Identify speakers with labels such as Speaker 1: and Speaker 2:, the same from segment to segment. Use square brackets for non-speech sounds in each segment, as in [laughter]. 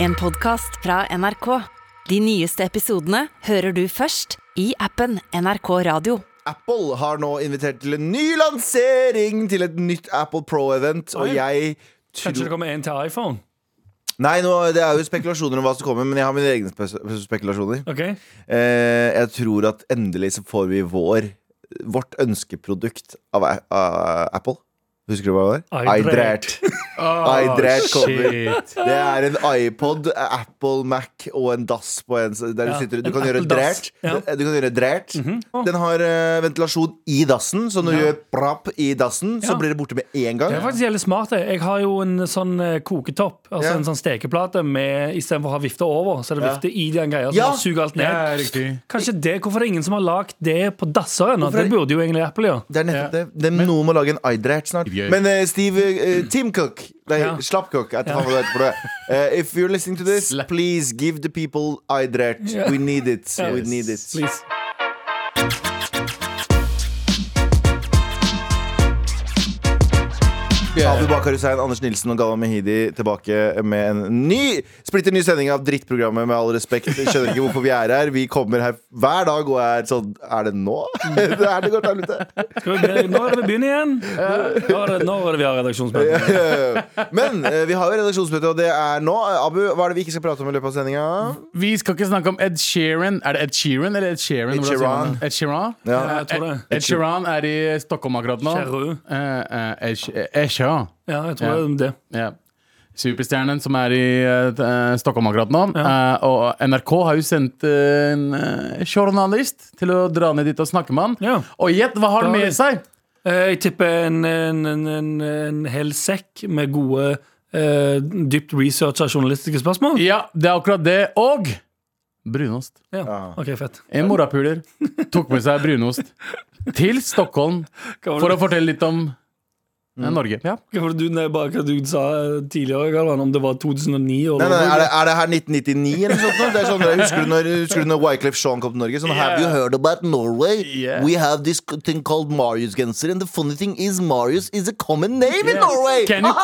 Speaker 1: En podcast fra NRK. De nyeste episodene hører du først i appen NRK Radio.
Speaker 2: Apple har nå invitert til en ny lansering til et nytt Apple Pro-event. Og
Speaker 3: Oi.
Speaker 2: jeg
Speaker 3: Kanskje det
Speaker 2: tror
Speaker 3: kommer en til iPhone?
Speaker 2: Nei, nå, det er jo spekulasjoner om hva som kommer, men jeg har mine egne spe- spekulasjoner.
Speaker 3: Ok
Speaker 2: Eh, jeg tror at endelig så får vi vår vårt ønskeprodukt av, A- av Apple. Husker du hva det var?
Speaker 3: iDreert. [laughs]
Speaker 2: iDreert kommer.
Speaker 3: Ah, Shit.
Speaker 2: Det er en iPod, Apple Mac og en dass på en så der
Speaker 3: Ja,
Speaker 2: du sitter. Du
Speaker 3: en
Speaker 2: kan gjøre
Speaker 3: Apple
Speaker 2: drært.
Speaker 3: dass. Ja.
Speaker 2: Du kan gjøre drært.
Speaker 3: Å.
Speaker 2: Den har eh, ventilasjon i dassen, så når du
Speaker 3: Ja.
Speaker 2: gjør prapp i dassen, så
Speaker 3: Ja.
Speaker 2: blir det borte med en gang.
Speaker 3: Det er faktisk jævlig smart. det. Jeg har jo en sånn eh, koketopp, altså
Speaker 2: Ja.
Speaker 3: en sånn stekeplate, med istedenfor å ha vifte over, så er det
Speaker 2: Ja.
Speaker 3: vifte i den greia som
Speaker 2: Ja.
Speaker 3: bare suger alt
Speaker 4: Ja,
Speaker 3: ned.
Speaker 4: riktig.
Speaker 3: Kanskje det, Hvorfor er det ingen som har lagd det på dasser ennå?
Speaker 2: Hvorfor er
Speaker 3: Det
Speaker 2: det-
Speaker 3: burde jo egentlig Apple gjøre.
Speaker 2: Det er nettopp det. det er noen må lage en iDreht snart.
Speaker 4: Gøy.
Speaker 2: Men eh, Steve eh, Tim Cook Nei,
Speaker 3: Ja.
Speaker 2: Slappcook. Jeg tar faen hva det heter for det. Eh, if you're listening to this,
Speaker 4: Slapp.
Speaker 2: please give the people iDreht.
Speaker 3: Ja.
Speaker 2: We need it.
Speaker 3: Ja.
Speaker 2: We need it.
Speaker 3: Please.
Speaker 2: Abu Bakar Hussein, Anders Nilsen og Galva Mehidi tilbake med en ny splitter ny sending av drittprogrammet Med all respekt. Jeg skjønner ikke hvorfor vi er her. Vi kommer her hver dag og er sånn Er det nå? [laughs] det er det går til helvete. [laughs]
Speaker 3: Skal vi begynne- Nå er det vi begynner igjen. Nå er det, nå er det vi har redaksjonsmøte.
Speaker 2: Men eh, vi har jo redaksjonsmøte, og det er nå. Abu, hva er det vi ikke skal prate om i løpet av sendinga?
Speaker 4: Vi skal ikke snakke om Ed Sheeran. Er det Ed Sheeran eller Ed Sheeran?
Speaker 2: Ed
Speaker 4: Hvordan sier
Speaker 2: Sheeran.
Speaker 4: man det? Ed Sheeran?
Speaker 2: Ja.
Speaker 3: Jeg tror det.
Speaker 4: Ed Sheeran er i Stockholm akkurat nå.
Speaker 3: Sheeran.
Speaker 4: Eh, eh, Ed She- eh, Ed Sheeran.
Speaker 3: Ja, jeg tror det er det.
Speaker 4: Ja. Superstjernen som er i eh, Stockholm akkurat nå. Eh, og NRK har jo sendt eh, en eh, journalist til å dra ned dit og snakke med han.
Speaker 3: Ja.
Speaker 4: Og gjett hva har
Speaker 3: Da har
Speaker 4: han
Speaker 3: de-
Speaker 4: med seg?
Speaker 3: Eh, Jeg tipper en, en, en, en, en hel sekk med gode, eh, dypt researcha journalistiske spørsmål.
Speaker 4: Ja, det er akkurat det. Og brunost.
Speaker 3: Ja. OK, fett.
Speaker 4: En morapuler tok med seg brunost til Stockholm
Speaker 3: Hva
Speaker 4: for
Speaker 3: var
Speaker 4: å
Speaker 3: det,
Speaker 4: fortelle litt om eh, Norge. Ja.
Speaker 3: hva var det du, nei, bare hva du sa eh, tidligere, Galvan, om det var 2009? Og
Speaker 2: Nei, nei, er, det, er det her 1999 eller noe sånt? nå? Det er sånn, dere husker, du når, husker du når Wyclef Sean kom til Norge? Sånn, Have you heard about Norway?
Speaker 4: Yeah.
Speaker 2: We have this thing called Marius-genser And the funny thing is Marius is a common name in Norway
Speaker 4: Can you,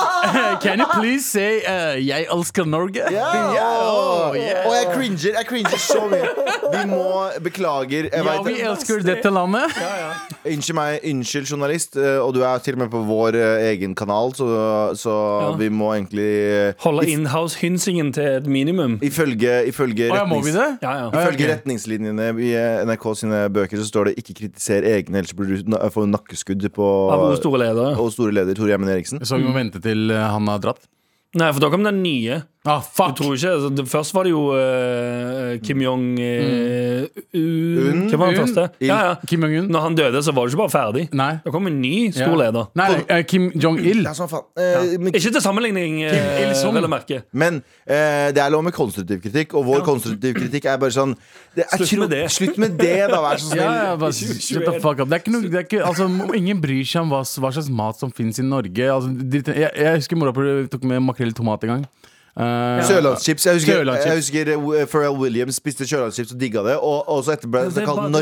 Speaker 4: can you [laughs] please say eh, 'Jeg elsker Norge'?
Speaker 2: Ja,
Speaker 4: Ja,
Speaker 2: åh,
Speaker 4: oh, yeah.
Speaker 2: Og jeg cringer, jeg cringer så mye Vi må,
Speaker 4: [laughs]
Speaker 2: beklager jeg
Speaker 4: Ja,
Speaker 2: vet
Speaker 4: vi
Speaker 2: det.
Speaker 4: elsker dette landet.
Speaker 2: Unnskyld meg, unnskyld journalist eh, Og du er til og med på vår eh, egen kanal Så, så
Speaker 3: Ja.
Speaker 2: vi må egentlig
Speaker 3: Holde
Speaker 2: if-
Speaker 3: inhouse-hynsingen til et minimum.
Speaker 2: Ifølge, ifølge
Speaker 4: Å ja, må
Speaker 2: retnings-
Speaker 4: vi det?
Speaker 3: Ja, ja.
Speaker 2: Ifølge
Speaker 4: ok.
Speaker 2: retningslinjene i eh, NRK sine bøker så står det 'ikke kritiser egne', ellers blir du na- får du nakkeskudd på
Speaker 3: Av våre store ledere.
Speaker 2: og store leder Tore Gjermund Eriksen.
Speaker 4: Så vi må vente til eh, han har dratt?
Speaker 3: Nei, for da kom den nye.
Speaker 4: Ah,
Speaker 3: Jeg
Speaker 4: fuck!
Speaker 3: tror ikke, altså, det, Først var det jo eh, Kim Jong eh, Un. Hvem var den
Speaker 4: Un.
Speaker 3: første? Ja, ja.
Speaker 4: Kim Jong-un?
Speaker 3: Når han døde, så var det ikke bare ferdig.
Speaker 4: Nei.
Speaker 3: Da kom en ny
Speaker 4: Ja.
Speaker 3: stor leder.
Speaker 4: Nei, eh, Kim Jong-il.
Speaker 2: Ja, sånn faen. Eh, men-
Speaker 3: Ikke til sammenligning, eh,
Speaker 4: Il-sung.
Speaker 3: vel å merke.
Speaker 2: Men eh, det er lov med konstruktiv kritikk, og vår konstruktiv kritikk er bare sånn det, jeg
Speaker 3: Slutt med det.
Speaker 2: Slutt med det, da,
Speaker 3: [laughs]
Speaker 2: vær så snill.
Speaker 4: Ja, ja, bare shut the fuck up. Det er ikke noe, det er ikke, altså, ingen bryr seg om hva, hva slags mat som fins i Norge. Altså, dritt- jeg, jeg husker mora på- tok med makrell i tomat en gang. Eh,
Speaker 2: Sørlandschips. Jeg husker,
Speaker 4: Sørlandschips.
Speaker 2: jeg husker eh, Pharrell Williams spiste sørlandschips og digga det, og, og så etterpå ble
Speaker 3: Det Altså, er
Speaker 2: han kalt
Speaker 3: bare-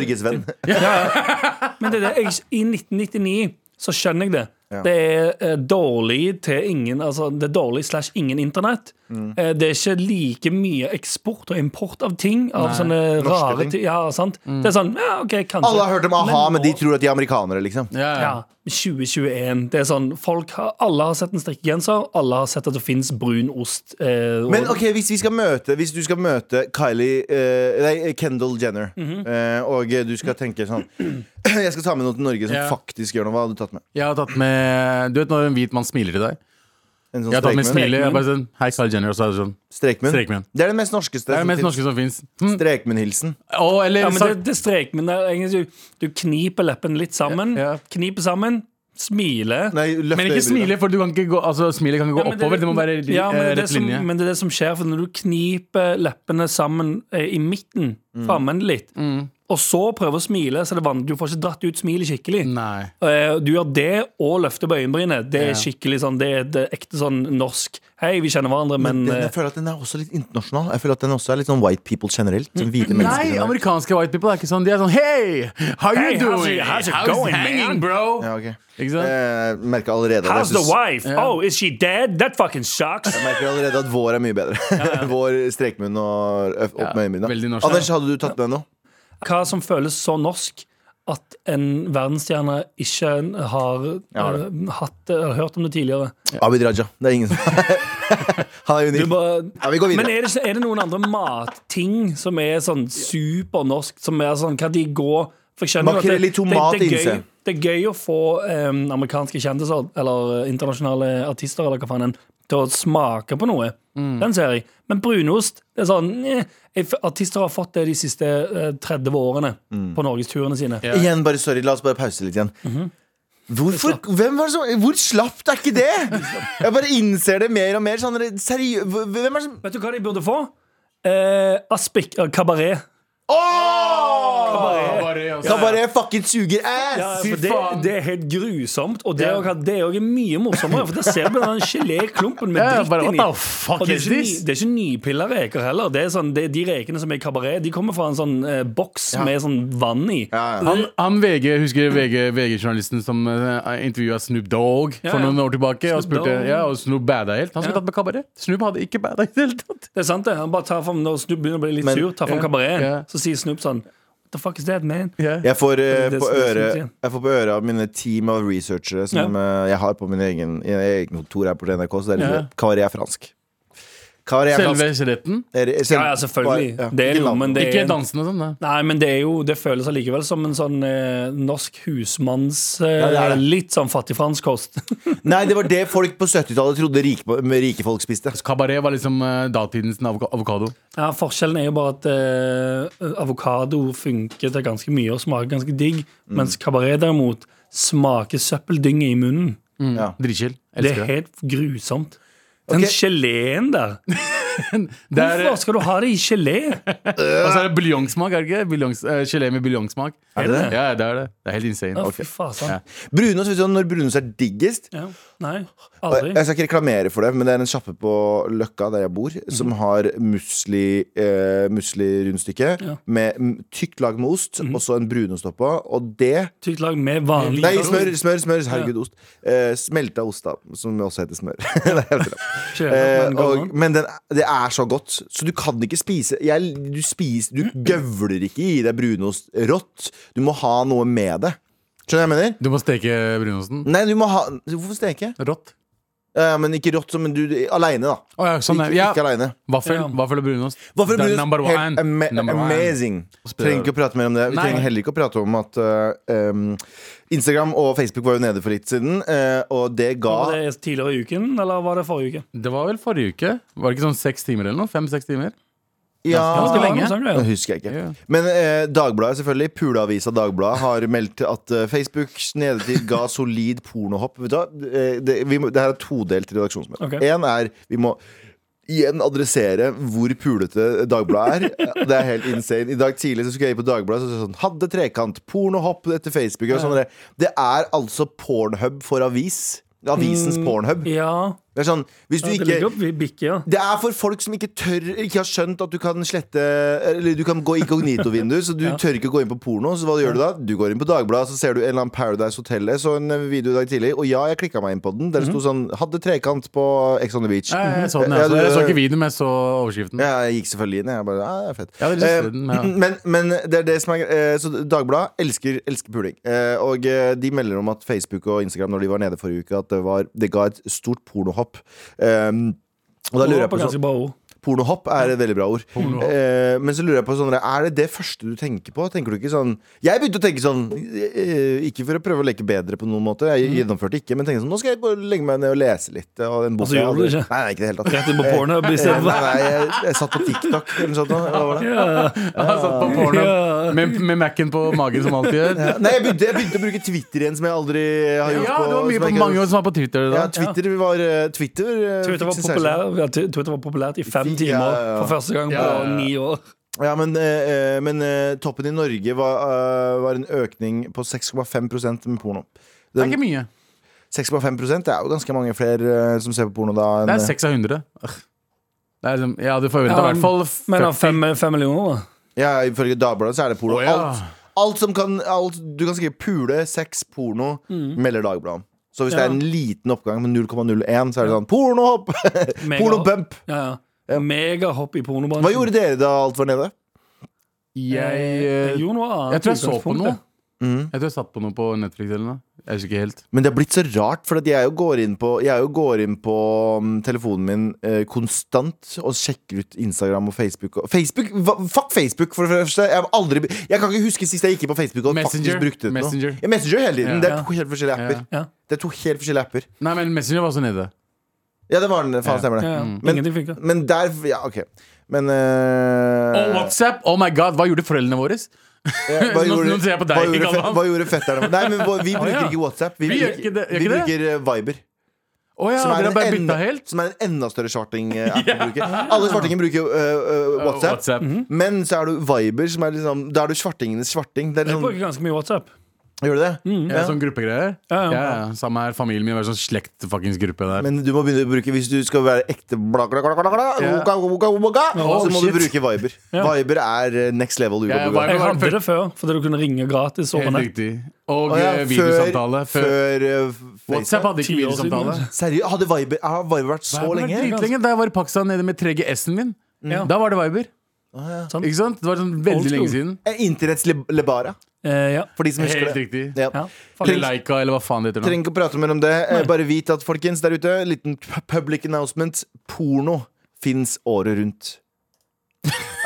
Speaker 3: [laughs]
Speaker 2: norgesvenn.
Speaker 3: Men det er det, jeg, i 1999 så skjønner jeg det.
Speaker 2: Ja.
Speaker 3: Det er eh, dårlig til ingen Altså det er dårlig slash ingen internett.
Speaker 2: Mm.
Speaker 3: Eh, det er ikke like mye eksport og import av ting. Av sånne
Speaker 2: Norske
Speaker 3: rare
Speaker 2: ting.
Speaker 3: ting. Ja, sant?
Speaker 4: Mm.
Speaker 3: Det er sånn, ja, ok, kanskje
Speaker 2: Alle har hørt om a-ha, men de tror at de er amerikanere, liksom.
Speaker 4: ja, ja.
Speaker 3: ja, 2021. Det er sånn, folk har, Alle har sett en strikkegenser, alle har sett at det fins brun ost. Eh, og-
Speaker 2: Men ok, hvis, vi skal møte, hvis du skal møte Kylie eh, Nei, Kendall Jenner
Speaker 4: Mhm.
Speaker 2: eh, Og du skal tenke sånn [clears throat] Jeg skal ta med noe til Norge som
Speaker 4: Ja.
Speaker 2: faktisk gjør noe Hva hadde du tatt med?
Speaker 4: Jeg har tatt med Du vet når en hvit mann smiler til deg?
Speaker 2: En sånn
Speaker 4: Jeg har tatt med
Speaker 2: strekmunn?
Speaker 4: smilet. Jeg er bare sånn, Hei, Carl Jenner. Og så er det sånn.
Speaker 2: Strekmunn?
Speaker 4: Strekmunn.
Speaker 2: Det er det mest norskeste
Speaker 4: Det er det
Speaker 2: som
Speaker 4: mest
Speaker 2: finnes.
Speaker 4: norske som fins. Hm.
Speaker 2: Strekmunn-hilsen
Speaker 4: Å, eller
Speaker 3: sånn ja, men
Speaker 4: sagt-
Speaker 3: det, det er strek, men det er egentlig du, du kniper leppen litt sammen.
Speaker 4: Ja, ja.
Speaker 3: Kniper sammen, smiler.
Speaker 2: Nei, løft
Speaker 4: Men ikke
Speaker 2: øyebrynene.
Speaker 4: smile, for du kan ikke gå, altså, smilet kan ikke gå
Speaker 3: Ja, men
Speaker 4: oppover. Det, må være
Speaker 3: ja, men, det
Speaker 4: eh,
Speaker 3: er det
Speaker 4: rett
Speaker 3: som,
Speaker 4: linje.
Speaker 3: men det er
Speaker 4: Mm.
Speaker 3: det som skjer, for når du kniper leppene sammen eh, i midten, framme litt, og så prøver å smile, så det er vanlig, du får ikke dratt ut smilet skikkelig.
Speaker 4: Nei.
Speaker 3: Eh, Du gjør det og løfter på øyenbrynet. Det
Speaker 4: Ja.
Speaker 3: er skikkelig sånn, det er det er ekte sånn norsk Hei, vi kjenner hverandre,
Speaker 2: Men
Speaker 3: men,
Speaker 2: den,
Speaker 3: eh,
Speaker 2: jeg føler at den er også litt internasjonal. Jeg føler at den også er litt sånn white people generelt. Sånn hvite mennesker
Speaker 4: Nei,
Speaker 2: generelt.
Speaker 4: amerikanske white people er ikke sånn. De er sånn Hey, how you
Speaker 3: Hey, how's
Speaker 4: doing?
Speaker 3: it- how's it going,
Speaker 4: hanging,
Speaker 3: man?"
Speaker 4: bro?
Speaker 2: Ja, ok.
Speaker 4: Ikke sant?
Speaker 2: Jeg merker allerede at
Speaker 3: How's
Speaker 2: jeg
Speaker 3: the
Speaker 2: synes-
Speaker 3: wife?
Speaker 4: Ja.
Speaker 3: Oh, is she dead? That fucking sucks.
Speaker 2: jeg merker allerede at vår er mye bedre. [laughs] vår strekmunn og ø- opp med
Speaker 4: veldig
Speaker 2: øyenbrynene.
Speaker 4: norsk.
Speaker 2: Anders, hadde du tatt med noe?
Speaker 3: Hva som føles så norsk at en verdensstjerne ikke har
Speaker 2: Jeg har
Speaker 3: eh, hatt, eh, hørt om det tidligere.
Speaker 2: Abid Raja. Det er ingen som [laughs] Han er
Speaker 3: Du
Speaker 2: unik.
Speaker 3: bare,
Speaker 2: Ja, vi går videre.
Speaker 3: men er det, ikke- er det noen andre matting som er sånn supernorsk, som er sånn Kan de gå For jeg skjønner jo at
Speaker 2: Makrell i
Speaker 3: det, det,
Speaker 2: tomat,
Speaker 3: det, er
Speaker 2: Inse.
Speaker 3: gøy, det er gøy å få em, amerikanske kjendiser eller eh, internasjonale artister eller hva faen enn til å smake på noe.
Speaker 2: Mm.
Speaker 3: Den ser jeg. Men brunost det er sånn eh, jeg f- Artister har fått det de siste eh, 30 årene
Speaker 2: Mm.
Speaker 3: på norgesturene sine.
Speaker 4: Ja.
Speaker 2: Igjen, bare sorry, la oss bare pause litt igjen.
Speaker 3: Mhm.
Speaker 2: Hvorfor, hvem var det som, hvor slapt er ikke det?! Jeg bare innser det mer og mer. Sånn, seriø- hvem er det som
Speaker 3: Vet du hva de burde få? Eh, Aspik eh, kabaret.
Speaker 2: Åh!
Speaker 4: Kabaret, altså.
Speaker 2: Kan bare fucking suger ass!
Speaker 3: Ja, for det,
Speaker 4: faen.
Speaker 3: det er helt grusomt, og det
Speaker 4: Ja.
Speaker 3: er også- det er også mye morsommere. For Der ser du den geléklumpen med
Speaker 4: Ja, ja,
Speaker 3: dritt
Speaker 4: bare,
Speaker 3: inni.
Speaker 4: what the fuck
Speaker 3: Og det er
Speaker 4: is
Speaker 3: ikke, ny,
Speaker 4: this?
Speaker 3: det er ikke nypilla reker heller. Det er sånn, det, de rekene som er i kabaret, de kommer fra en sånn eh, boks med sånn vann i.
Speaker 2: Ja, ja.
Speaker 4: Han, han VG, husker VG, VG-journalisten som uh, intervjua Snoop Dogg
Speaker 3: Ja,
Speaker 4: for
Speaker 3: ja.
Speaker 4: noen år tilbake. og
Speaker 3: Snoop
Speaker 4: spurte,
Speaker 3: Dogg.
Speaker 4: ja, og Snoop bada helt. Han skulle
Speaker 3: Ja.
Speaker 4: tatt med kabaret. Snoop hadde ikke bada i det hele tatt.
Speaker 3: Det er sant, det. Han bare tar fram, Når Snoop begynner å bli litt
Speaker 2: Men-
Speaker 3: sur, tar fram
Speaker 4: Ja.
Speaker 3: kabareten,
Speaker 4: Ja.
Speaker 3: så sier Snoop sånn What the fuck is that, man?
Speaker 2: Jeg får, eh,
Speaker 3: Det
Speaker 2: på
Speaker 3: er det som er
Speaker 2: øret,
Speaker 3: sykt, ja.
Speaker 2: jeg får på øret av mine team av researchere som eh, jeg har på min egen, i en egen kontor her på NRK, så det er
Speaker 4: Ja.
Speaker 2: litt kabaret er fransk. Kabaret er
Speaker 4: Selve
Speaker 2: fransk.
Speaker 4: skjeletten.
Speaker 2: Er det- selv-
Speaker 3: Ja, ja, selvfølgelig.
Speaker 2: Ja.
Speaker 3: Det er
Speaker 2: Ikke
Speaker 3: jo, men
Speaker 2: navn.
Speaker 3: det
Speaker 4: Ikke
Speaker 3: er
Speaker 4: dansen og sånn. da.
Speaker 3: Nei, men det er jo, det føles allikevel som en sånn eh, norsk husmanns eh,
Speaker 2: det er det.
Speaker 3: Litt sånn fattigfransk kost.
Speaker 2: Nei, det var det folk på 70-tallet trodde rike, rike folk spiste.
Speaker 4: Kabaret var liksom eh, datidens avoka- avokado.
Speaker 3: Ja, Forskjellen er jo bare at eh, avokado funker til ganske mye og smaker ganske digg,
Speaker 2: Mm.
Speaker 3: mens kabaret derimot smaker søppeldynge i munnen.
Speaker 2: Ja.
Speaker 4: Dritchill.
Speaker 3: Det
Speaker 4: Elsker
Speaker 3: er
Speaker 4: det.
Speaker 3: helt grusomt. Den
Speaker 2: Ok.
Speaker 3: geleen der.
Speaker 2: [laughs]
Speaker 4: det er,
Speaker 3: Hvorfor skal du ha det i gelé?
Speaker 4: og så er det buljongsmak, er det ikke? Buljong- eh, gelé med buljongsmak.
Speaker 2: Er det det?
Speaker 4: Ja, det er det. Det er helt insane.
Speaker 3: Ja,
Speaker 4: Ok.
Speaker 3: fy faen.
Speaker 4: Ja.
Speaker 2: Brunost, vet du hva, når brunost er diggest
Speaker 3: Ja. Nei,
Speaker 2: Og Jeg
Speaker 3: aldri.
Speaker 2: jeg skal ikke reklamere for det, men det er en sjappe på Løkka, der jeg bor, som har musli, eh, muslirundstykke
Speaker 3: Ja.
Speaker 2: med mm, tykt lag med ost, og så en brunost oppå, og det
Speaker 3: Tykt lag med vanlig
Speaker 2: Nei, smør, smør, smør, herregud, ost. Eh, smelta ost, da, som også heter smør. [laughs] Nei, jeg vet ikke. Eh,
Speaker 3: gelé.
Speaker 2: og, men den, det er så godt, så du kan ikke spise jeg, Du spiser, du gøvler ikke i deg brunost rått. Du må ha noe med det. Skjønner du hva jeg mener?
Speaker 4: Du må steke brunosten.
Speaker 2: Nei, du må ha Hvorfor steke?
Speaker 4: Rått.
Speaker 2: Eh, men ikke rått, som men du aleine, da.
Speaker 4: Å ja, sånn er
Speaker 2: Ikke,
Speaker 4: ja.
Speaker 2: ikke aleine.
Speaker 4: Vaffel,
Speaker 3: Ja.
Speaker 4: vaffel og brunost.
Speaker 2: Hvorfor
Speaker 4: Det er
Speaker 2: blir
Speaker 4: number
Speaker 2: det
Speaker 4: one.
Speaker 2: helt ama
Speaker 4: Number one.
Speaker 2: amazing? Trenger ikke å prate mer om det. Vi
Speaker 4: Nei.
Speaker 2: trenger heller ikke å prate om at eh, em, Instagram og Facebook var jo nede for litt siden, eh, og det ga
Speaker 3: Var det tidligere i uken, eller var det forrige uke?
Speaker 4: Det var vel forrige uke? Var det ikke sånn seks timer eller noe? Fem-seks timer?
Speaker 3: Ja,
Speaker 4: Ganske
Speaker 3: det
Speaker 2: Ja,
Speaker 3: var noe
Speaker 4: lenge.
Speaker 3: sånn
Speaker 2: nå [laughs]
Speaker 3: greier.
Speaker 2: husker jeg ikke.
Speaker 4: Ja.
Speaker 2: Men eh, Dagbladet, selvfølgelig. Puleavisa Dagbladet har meldt at eh, Facebooks nedetid ga solid pornohopp. Vet du hva? Eh, Det, vi må, det her er todelt redaksjonsmøte.
Speaker 3: Ok.
Speaker 2: Én er vi må igjen adressere hvor pulete Dagbladet er. Eh, Det er helt insane. I dag tidlig så skulle jeg inn på Dagbladet og så sånn Hadde trekant, pornohopp etter Facebook. Og sånn der. det er altså pornhub for avis. Avisens pornhub.
Speaker 3: Ja,
Speaker 2: Det er sånn, hvis du
Speaker 3: Mm. det
Speaker 2: ikke
Speaker 3: ligger opp i bikke, ja.
Speaker 2: det er for folk som ikke tør Ikke har skjønt at du kan slette Eller du kan gå
Speaker 4: [laughs]
Speaker 2: inkognito-vindu, så du tør ikke gå inn på porno. Så hva gjør du da? Du går inn på Dagbladet, så ser du en eller annen Paradise Hotel. Jeg så en eh, video i dag tidlig, og ja, jeg klikka meg inn på den. Der det sto sånn Hadde trekant på Ex on the Beach.
Speaker 4: Mhm. Ja, jeg, så den,
Speaker 2: Ja,
Speaker 4: jeg, så,
Speaker 2: du-
Speaker 4: jeg så ikke videoen, men jeg så [laughs] overskriften.
Speaker 2: Ja, jeg gikk selvfølgelig inn. Jeg bare, ja, det er fett Eh,
Speaker 4: Ja, det er litt synd, men ja.
Speaker 2: [clears throat] men, men det er det som er eh, Så Dagbladet elsker, elsker puling. Eh, og eh, de melder om at Facebook og Instagram Når de var nede forrige uke, at det, var, det ga et stort pornohopp. Eh, og da
Speaker 3: Det
Speaker 2: lurer jeg på
Speaker 3: var på
Speaker 2: sånn,
Speaker 3: ganske bra
Speaker 2: [laughs]
Speaker 3: ord.
Speaker 2: Pornohopp er et veldig bra ord.
Speaker 4: Pornohopp.
Speaker 2: Eh, men så lurer jeg på sånn, Er det det første du tenker på? Tenker du ikke sånn Jeg begynte å tenke sånn eh, Ikke for å prøve å leke bedre på noen måte. Jeg gjennomførte ikke, men tenkte sånn Nå skal jeg bare legge meg ned og lese litt. eh, Og en bok
Speaker 3: Og så
Speaker 2: jeg
Speaker 3: gjorde du
Speaker 2: aldri-
Speaker 3: det ikke?
Speaker 2: Nei, nei, ikke i det hele tatt.
Speaker 3: Rett inn på pornhub i
Speaker 2: Eh, [laughs]
Speaker 3: stedet.
Speaker 2: Nei, nei, jeg, jeg satt på TikTok eller noe sånt. nå. Hva var det?
Speaker 4: Han satt på porno
Speaker 3: Ja.
Speaker 4: med, med Mac-en på magen, som alltid gjør.
Speaker 2: Eh, Nei, jeg begynte, jeg begynte å bruke Twitter igjen, som jeg aldri har gjort
Speaker 4: Ja,
Speaker 2: på.
Speaker 4: det var
Speaker 2: som
Speaker 4: mye på
Speaker 2: jeg ikke har
Speaker 4: mange
Speaker 2: gjort.
Speaker 4: som var på Twitter.
Speaker 2: Ja,
Speaker 4: Da.
Speaker 2: Twitter var eh, Twitter, eh,
Speaker 3: Twitter var,
Speaker 2: fikk sensasjon.
Speaker 3: populær, ja, Twitter var populært i fem
Speaker 2: Ja,
Speaker 3: timer
Speaker 2: ja, ja.
Speaker 3: for første gang på
Speaker 4: Ja, ja, ja.
Speaker 3: ni år.
Speaker 2: Eh, Ja, men, eh, eh, men eh, toppen i Norge var, eh, var en økning på 6,5 med porno.
Speaker 4: Det
Speaker 2: Den-
Speaker 4: er ikke mye.
Speaker 2: 6,5 det er jo ganske mange flere eh, som ser på porno da. enn-
Speaker 4: Det er seks av hundre. Det er liksom, jeg hadde forventa i
Speaker 3: Ja,
Speaker 4: hvert fall
Speaker 3: Men av
Speaker 4: 40.
Speaker 3: fem, fem millioner, da?
Speaker 2: eh, Ja, Ifølge Dagbladet så er det porno.
Speaker 4: Å, ja.
Speaker 2: alt, alt som kan alt, Du kan skrive pule, sex, porno,
Speaker 4: Mm.
Speaker 2: melder Dagbladet om. Så hvis det
Speaker 3: Ja.
Speaker 2: er en liten oppgang med 0,01, så er det sånn pornohopp!
Speaker 3: Mega-
Speaker 2: Pornobump!
Speaker 3: Ja, ja. Megahopp i pornobransjen.
Speaker 2: Hva gjorde dere da alt var nede?
Speaker 4: Jeg, eh,
Speaker 3: Jeg gjorde noe annet.
Speaker 4: jeg tror jeg så på
Speaker 3: utgangspunktet.
Speaker 4: noe.
Speaker 2: Mm.
Speaker 4: Jeg tror jeg satt på noe på Netflix eller noe. Jeg husker ikke helt.
Speaker 2: Men det har blitt så rart, for at jeg jo går inn på, jeg jo går inn på mm, telefonen min eh, konstant og sjekker ut Instagram og Facebook. Og Facebook hva, fuck Facebook, for det første! Jeg, har aldri, jeg kan ikke huske sist jeg gikk inn på Facebook og
Speaker 4: Messenger.
Speaker 2: faktisk brukte det. til noe.
Speaker 4: Messenger.
Speaker 2: Ja, Messenger hele tiden.
Speaker 4: Ja.
Speaker 2: Det er to helt forskjellige apper.
Speaker 4: Ja.
Speaker 3: Ja.
Speaker 2: Det er to helt forskjellige apper.
Speaker 4: Nei, men Messenger var også nede.
Speaker 2: Ja, det var den. Faen, stemmer det.
Speaker 3: Ja, ja.
Speaker 2: Men-
Speaker 3: Ingenting funka.
Speaker 2: Men der Ja, OK. Men eh,
Speaker 4: Og WhatsApp! Oh my god, hva gjorde foreldrene våre?
Speaker 2: ja, hva,
Speaker 4: [laughs] Nå-
Speaker 2: gjorde,
Speaker 4: nå ser jeg på deg,
Speaker 2: hva, gjorde,
Speaker 4: Galvan.
Speaker 2: fe- hva gjorde fetterne Nei, men hva- vi bruker
Speaker 4: ja.
Speaker 2: ikke WhatsApp. Vi,
Speaker 4: Vi gjør
Speaker 2: bruker,
Speaker 4: ikke det- gjør
Speaker 2: vi
Speaker 4: ikke
Speaker 2: bruker eh, Viber.
Speaker 4: Å ja, dere har bare
Speaker 2: en
Speaker 4: bytta
Speaker 2: enda,
Speaker 4: helt?
Speaker 2: som er en enda større eh,
Speaker 4: [laughs]
Speaker 2: svarting-app å bruke. Alle svartinger bruker øh, øh, WhatsApp,
Speaker 4: WhatsApp.
Speaker 3: Mhm.
Speaker 2: men så er du Viber, som er liksom Da er du svartingenes svarting. Det er
Speaker 3: Jeg
Speaker 2: liksom,
Speaker 3: bruker ganske mye WhatsApp.
Speaker 2: gjør du det?
Speaker 4: Ja, sånn gruppegreier. Ja,
Speaker 3: Ja, ja.
Speaker 4: ja. Samme her familien min. Var sånn slekt-fuckings-gruppe der.
Speaker 2: Men du må begynne å bruke hvis du skal være ekte bla, bla, bla, bla, bla,
Speaker 4: Ja.
Speaker 2: woka, woka, woka,
Speaker 4: Oh,
Speaker 2: Så må du
Speaker 4: shit.
Speaker 2: bruke Viber. Viber er eh, next level.
Speaker 4: Ja,
Speaker 2: uoppegående.
Speaker 4: Viber-
Speaker 3: Jeg
Speaker 4: var den
Speaker 3: hadde
Speaker 4: første-
Speaker 3: det før, fordi du kunne ringe gratis over
Speaker 4: Helt
Speaker 3: nett.
Speaker 4: riktig. Og
Speaker 2: Å ja,
Speaker 4: eh, videosamtale. Før,
Speaker 2: før eh, Facebook.
Speaker 4: WhatsApp hadde ikke
Speaker 3: Ti år siden.
Speaker 4: videosamtale.
Speaker 2: Seriøst, hadde Viber, har Viber vært så
Speaker 4: Viber var
Speaker 2: lenge?
Speaker 4: dritlenge. Da jeg var i Pakistan nede med 3GS-en min,
Speaker 3: Ja.
Speaker 4: da var det Viber.
Speaker 3: Sant.
Speaker 4: Ikke sant? Det var sånn
Speaker 3: Old
Speaker 4: veldig
Speaker 3: school.
Speaker 4: lenge siden.
Speaker 2: Eh, Internetts le- lebara,
Speaker 3: Eh, ja.
Speaker 2: for de som husker
Speaker 4: Helt
Speaker 2: det.
Speaker 4: riktig.
Speaker 2: Ja.
Speaker 3: ja.
Speaker 4: Eller
Speaker 3: Faktisk.
Speaker 4: Leica, eller hva faen det heter. nå.
Speaker 2: Trenger ikke å prate mer om det. Eh, Bare vit at, folkens, der ute, liten pu- public announcement. Porno fins året rundt.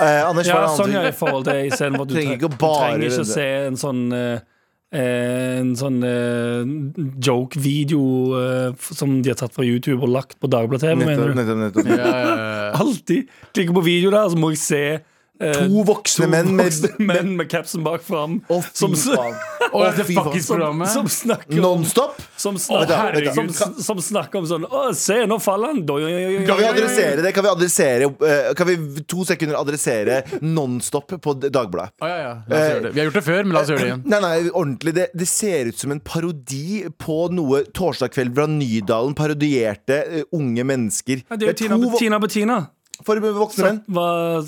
Speaker 2: Eh, Anders,
Speaker 3: Ja,
Speaker 2: hva er det
Speaker 3: sånn er
Speaker 2: andre
Speaker 3: det i forhold til istedenfor at du,
Speaker 2: [laughs] Trenger
Speaker 3: tre
Speaker 2: ikke å
Speaker 3: du
Speaker 2: bare
Speaker 3: trenger ikke å
Speaker 2: det.
Speaker 3: se en sånn eh, eh, en sånn eh, joke-video eh, f- som de har tatt fra YouTube og lagt på Dagbladet TV,
Speaker 2: Nettopp,
Speaker 3: Sånn mener du?
Speaker 2: nettopp, nettopp.
Speaker 4: Ja, ja, ja.
Speaker 3: Alltid! Klikker på video der, så må jeg se eh,
Speaker 2: To voksne
Speaker 3: to
Speaker 2: menn med
Speaker 3: voksne menn med capsen bak fram
Speaker 2: [laughs] Å, fy
Speaker 3: som, s-
Speaker 2: faen.
Speaker 4: Og
Speaker 2: Å,
Speaker 4: dette
Speaker 2: fy faen.
Speaker 4: fuckings programmet.
Speaker 3: som snakker om
Speaker 2: Nonstop?
Speaker 3: som
Speaker 4: Å,
Speaker 3: snakker,
Speaker 4: herregud.
Speaker 3: som, s- som snakker om sånn Å, se, nå faller han! Doi, oi, oi, oi,
Speaker 2: Kan vi
Speaker 3: oi, oi, oi.
Speaker 2: adressere det? Kan vi, adressere, eh, kan vi to sekunder adressere Nonstop på D- Dagbladet?
Speaker 4: Å, ja, ja.
Speaker 2: Eh,
Speaker 4: La oss gjøre det. Vi har gjort det før, men la oss gjøre det igjen.
Speaker 2: Nei, nei, ordentlig det, det ser ut som en parodi på noe Torsdag kveld fra Nydalen parodierte eh, unge mennesker.
Speaker 3: Ja, Det er jo Tina,
Speaker 2: to vo-
Speaker 3: Tina Bettina.
Speaker 2: for voksne menn.
Speaker 3: Var-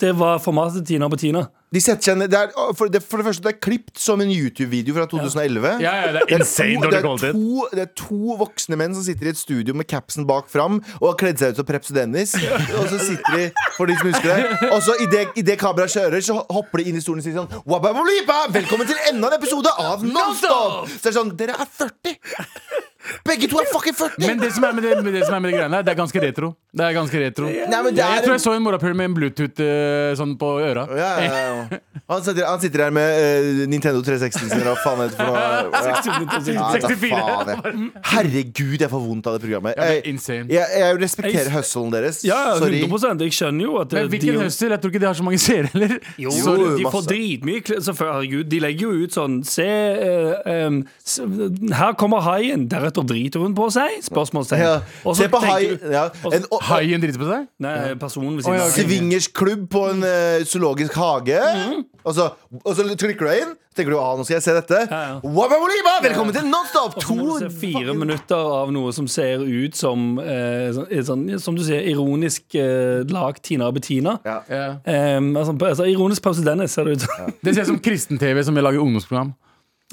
Speaker 3: Det var formatet Tina
Speaker 2: [laughs]
Speaker 3: Bettina.
Speaker 2: De setter seg ned det er, for, det, for det første, det er klipt som en YouTube-video fra 2011.
Speaker 4: Ja, ja, det er insane
Speaker 2: det,
Speaker 4: dårlig
Speaker 2: er
Speaker 4: kvalitet.
Speaker 2: to, det er to voksne menn som sitter i et studio med capsen bak fram og har kledd seg ut som Preps Dennis. Og så sitter de, for de som husker det Og så idet det kameraet kjører, så hopper de inn i stolen og sier sånn «Wababolipa! Velkommen til enda en episode av Nonstop! Så det er sånn Dere er 40! Begge to er fucking 40!
Speaker 4: Men det som er med det, det, som er med det greiene her, det er ganske retro. Det er ganske retro.
Speaker 2: Nei, men det
Speaker 4: Jeg,
Speaker 2: er
Speaker 4: tror
Speaker 2: en-
Speaker 4: jeg så en morapul med en Bluetooth eh, sånn på øra.
Speaker 2: ja, ja, ja. Han, sitter, han sitter her med eh, Nintendo 360 sin, eller hva faen heter det for noe? Ja. Ja, da
Speaker 4: 64.
Speaker 2: faen, jeg. [laughs] Herregud, jeg får vondt av det programmet.
Speaker 4: Ja, men
Speaker 2: Jeg,
Speaker 4: insane.
Speaker 2: jeg, jeg respekterer
Speaker 3: Jeg-
Speaker 2: hustlen deres.
Speaker 3: Ja,
Speaker 2: Sorry.
Speaker 3: 100 Jeg skjønner jo at
Speaker 4: Men hvilken
Speaker 3: de,
Speaker 4: høstel? Jeg tror ikke de har så mange seere heller.
Speaker 3: jo,
Speaker 2: Sorry,
Speaker 3: de får
Speaker 2: masse.
Speaker 3: dritmye kle- så for- Herregud, de legger jo ut sånn Se, eh, em, s- her kommer haien. Deretter driter hun på seg? Spørsmålstegn.
Speaker 2: Ja.
Speaker 3: Og så
Speaker 2: Se på
Speaker 3: tenker
Speaker 2: hai
Speaker 3: du-
Speaker 2: ja.
Speaker 3: og så-
Speaker 2: En o-
Speaker 4: Haien driter på seg?
Speaker 3: Nei, personen ved
Speaker 4: Å,
Speaker 3: siden
Speaker 4: ja,
Speaker 3: av.
Speaker 4: ok.
Speaker 3: haien.
Speaker 2: svingers-klubb på en eh, zoologisk hage.
Speaker 3: Mhm.
Speaker 2: Og, så, og så klikker du deg inn. Tenker du, ah, nå skal jeg se dette
Speaker 3: Ja, ja.
Speaker 2: Wababoliba, Velkommen til Nonstop!
Speaker 3: Og så
Speaker 2: To
Speaker 3: må du se fire
Speaker 2: fucking-
Speaker 3: minutter av noe som ser ut som eh, sånn, eh, sånn, Som du sier, ironisk eh, lag Tina og Bettina.
Speaker 2: Ja.
Speaker 4: Ja.
Speaker 3: Em, altså, altså, ironisk Pause Dennis, ser det ut [laughs] som.
Speaker 4: Det ser ut som kristen-TV som jeg lager ungdomsprogram.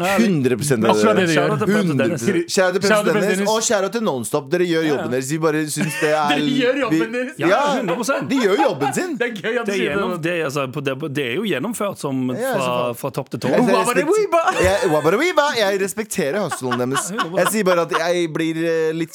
Speaker 2: 100 av
Speaker 4: Akkurat det
Speaker 2: dere.
Speaker 4: de
Speaker 3: Shout
Speaker 4: gjør.
Speaker 3: out til Pause Dennis.
Speaker 2: 100%. Kjære til
Speaker 4: Shout out
Speaker 2: President
Speaker 4: til
Speaker 2: Dennis
Speaker 4: Dennis.
Speaker 2: og kjære til Nonstop. Dere gjør jobben deres. Vi bare syns
Speaker 3: [laughs]
Speaker 2: det er
Speaker 4: Dere gjør jobben
Speaker 2: vi-
Speaker 4: deres.
Speaker 2: Ja,
Speaker 3: Ja, 100%.
Speaker 2: De gjør jobben sin.
Speaker 4: Det er gøy at du
Speaker 3: Det er,
Speaker 4: sier
Speaker 3: gjennom,
Speaker 4: det.
Speaker 3: det, er, altså, på- det, det er jo gjennomført som
Speaker 2: Ja,
Speaker 3: fra,
Speaker 2: så
Speaker 3: fra topp til tå.
Speaker 2: Jeg,
Speaker 4: Wabba de
Speaker 2: respekt-
Speaker 4: weeba.
Speaker 2: jeg, wabba de weeba. jeg respekterer hustlen
Speaker 4: [laughs]
Speaker 2: deres. Jeg sier bare at jeg blir eh, litt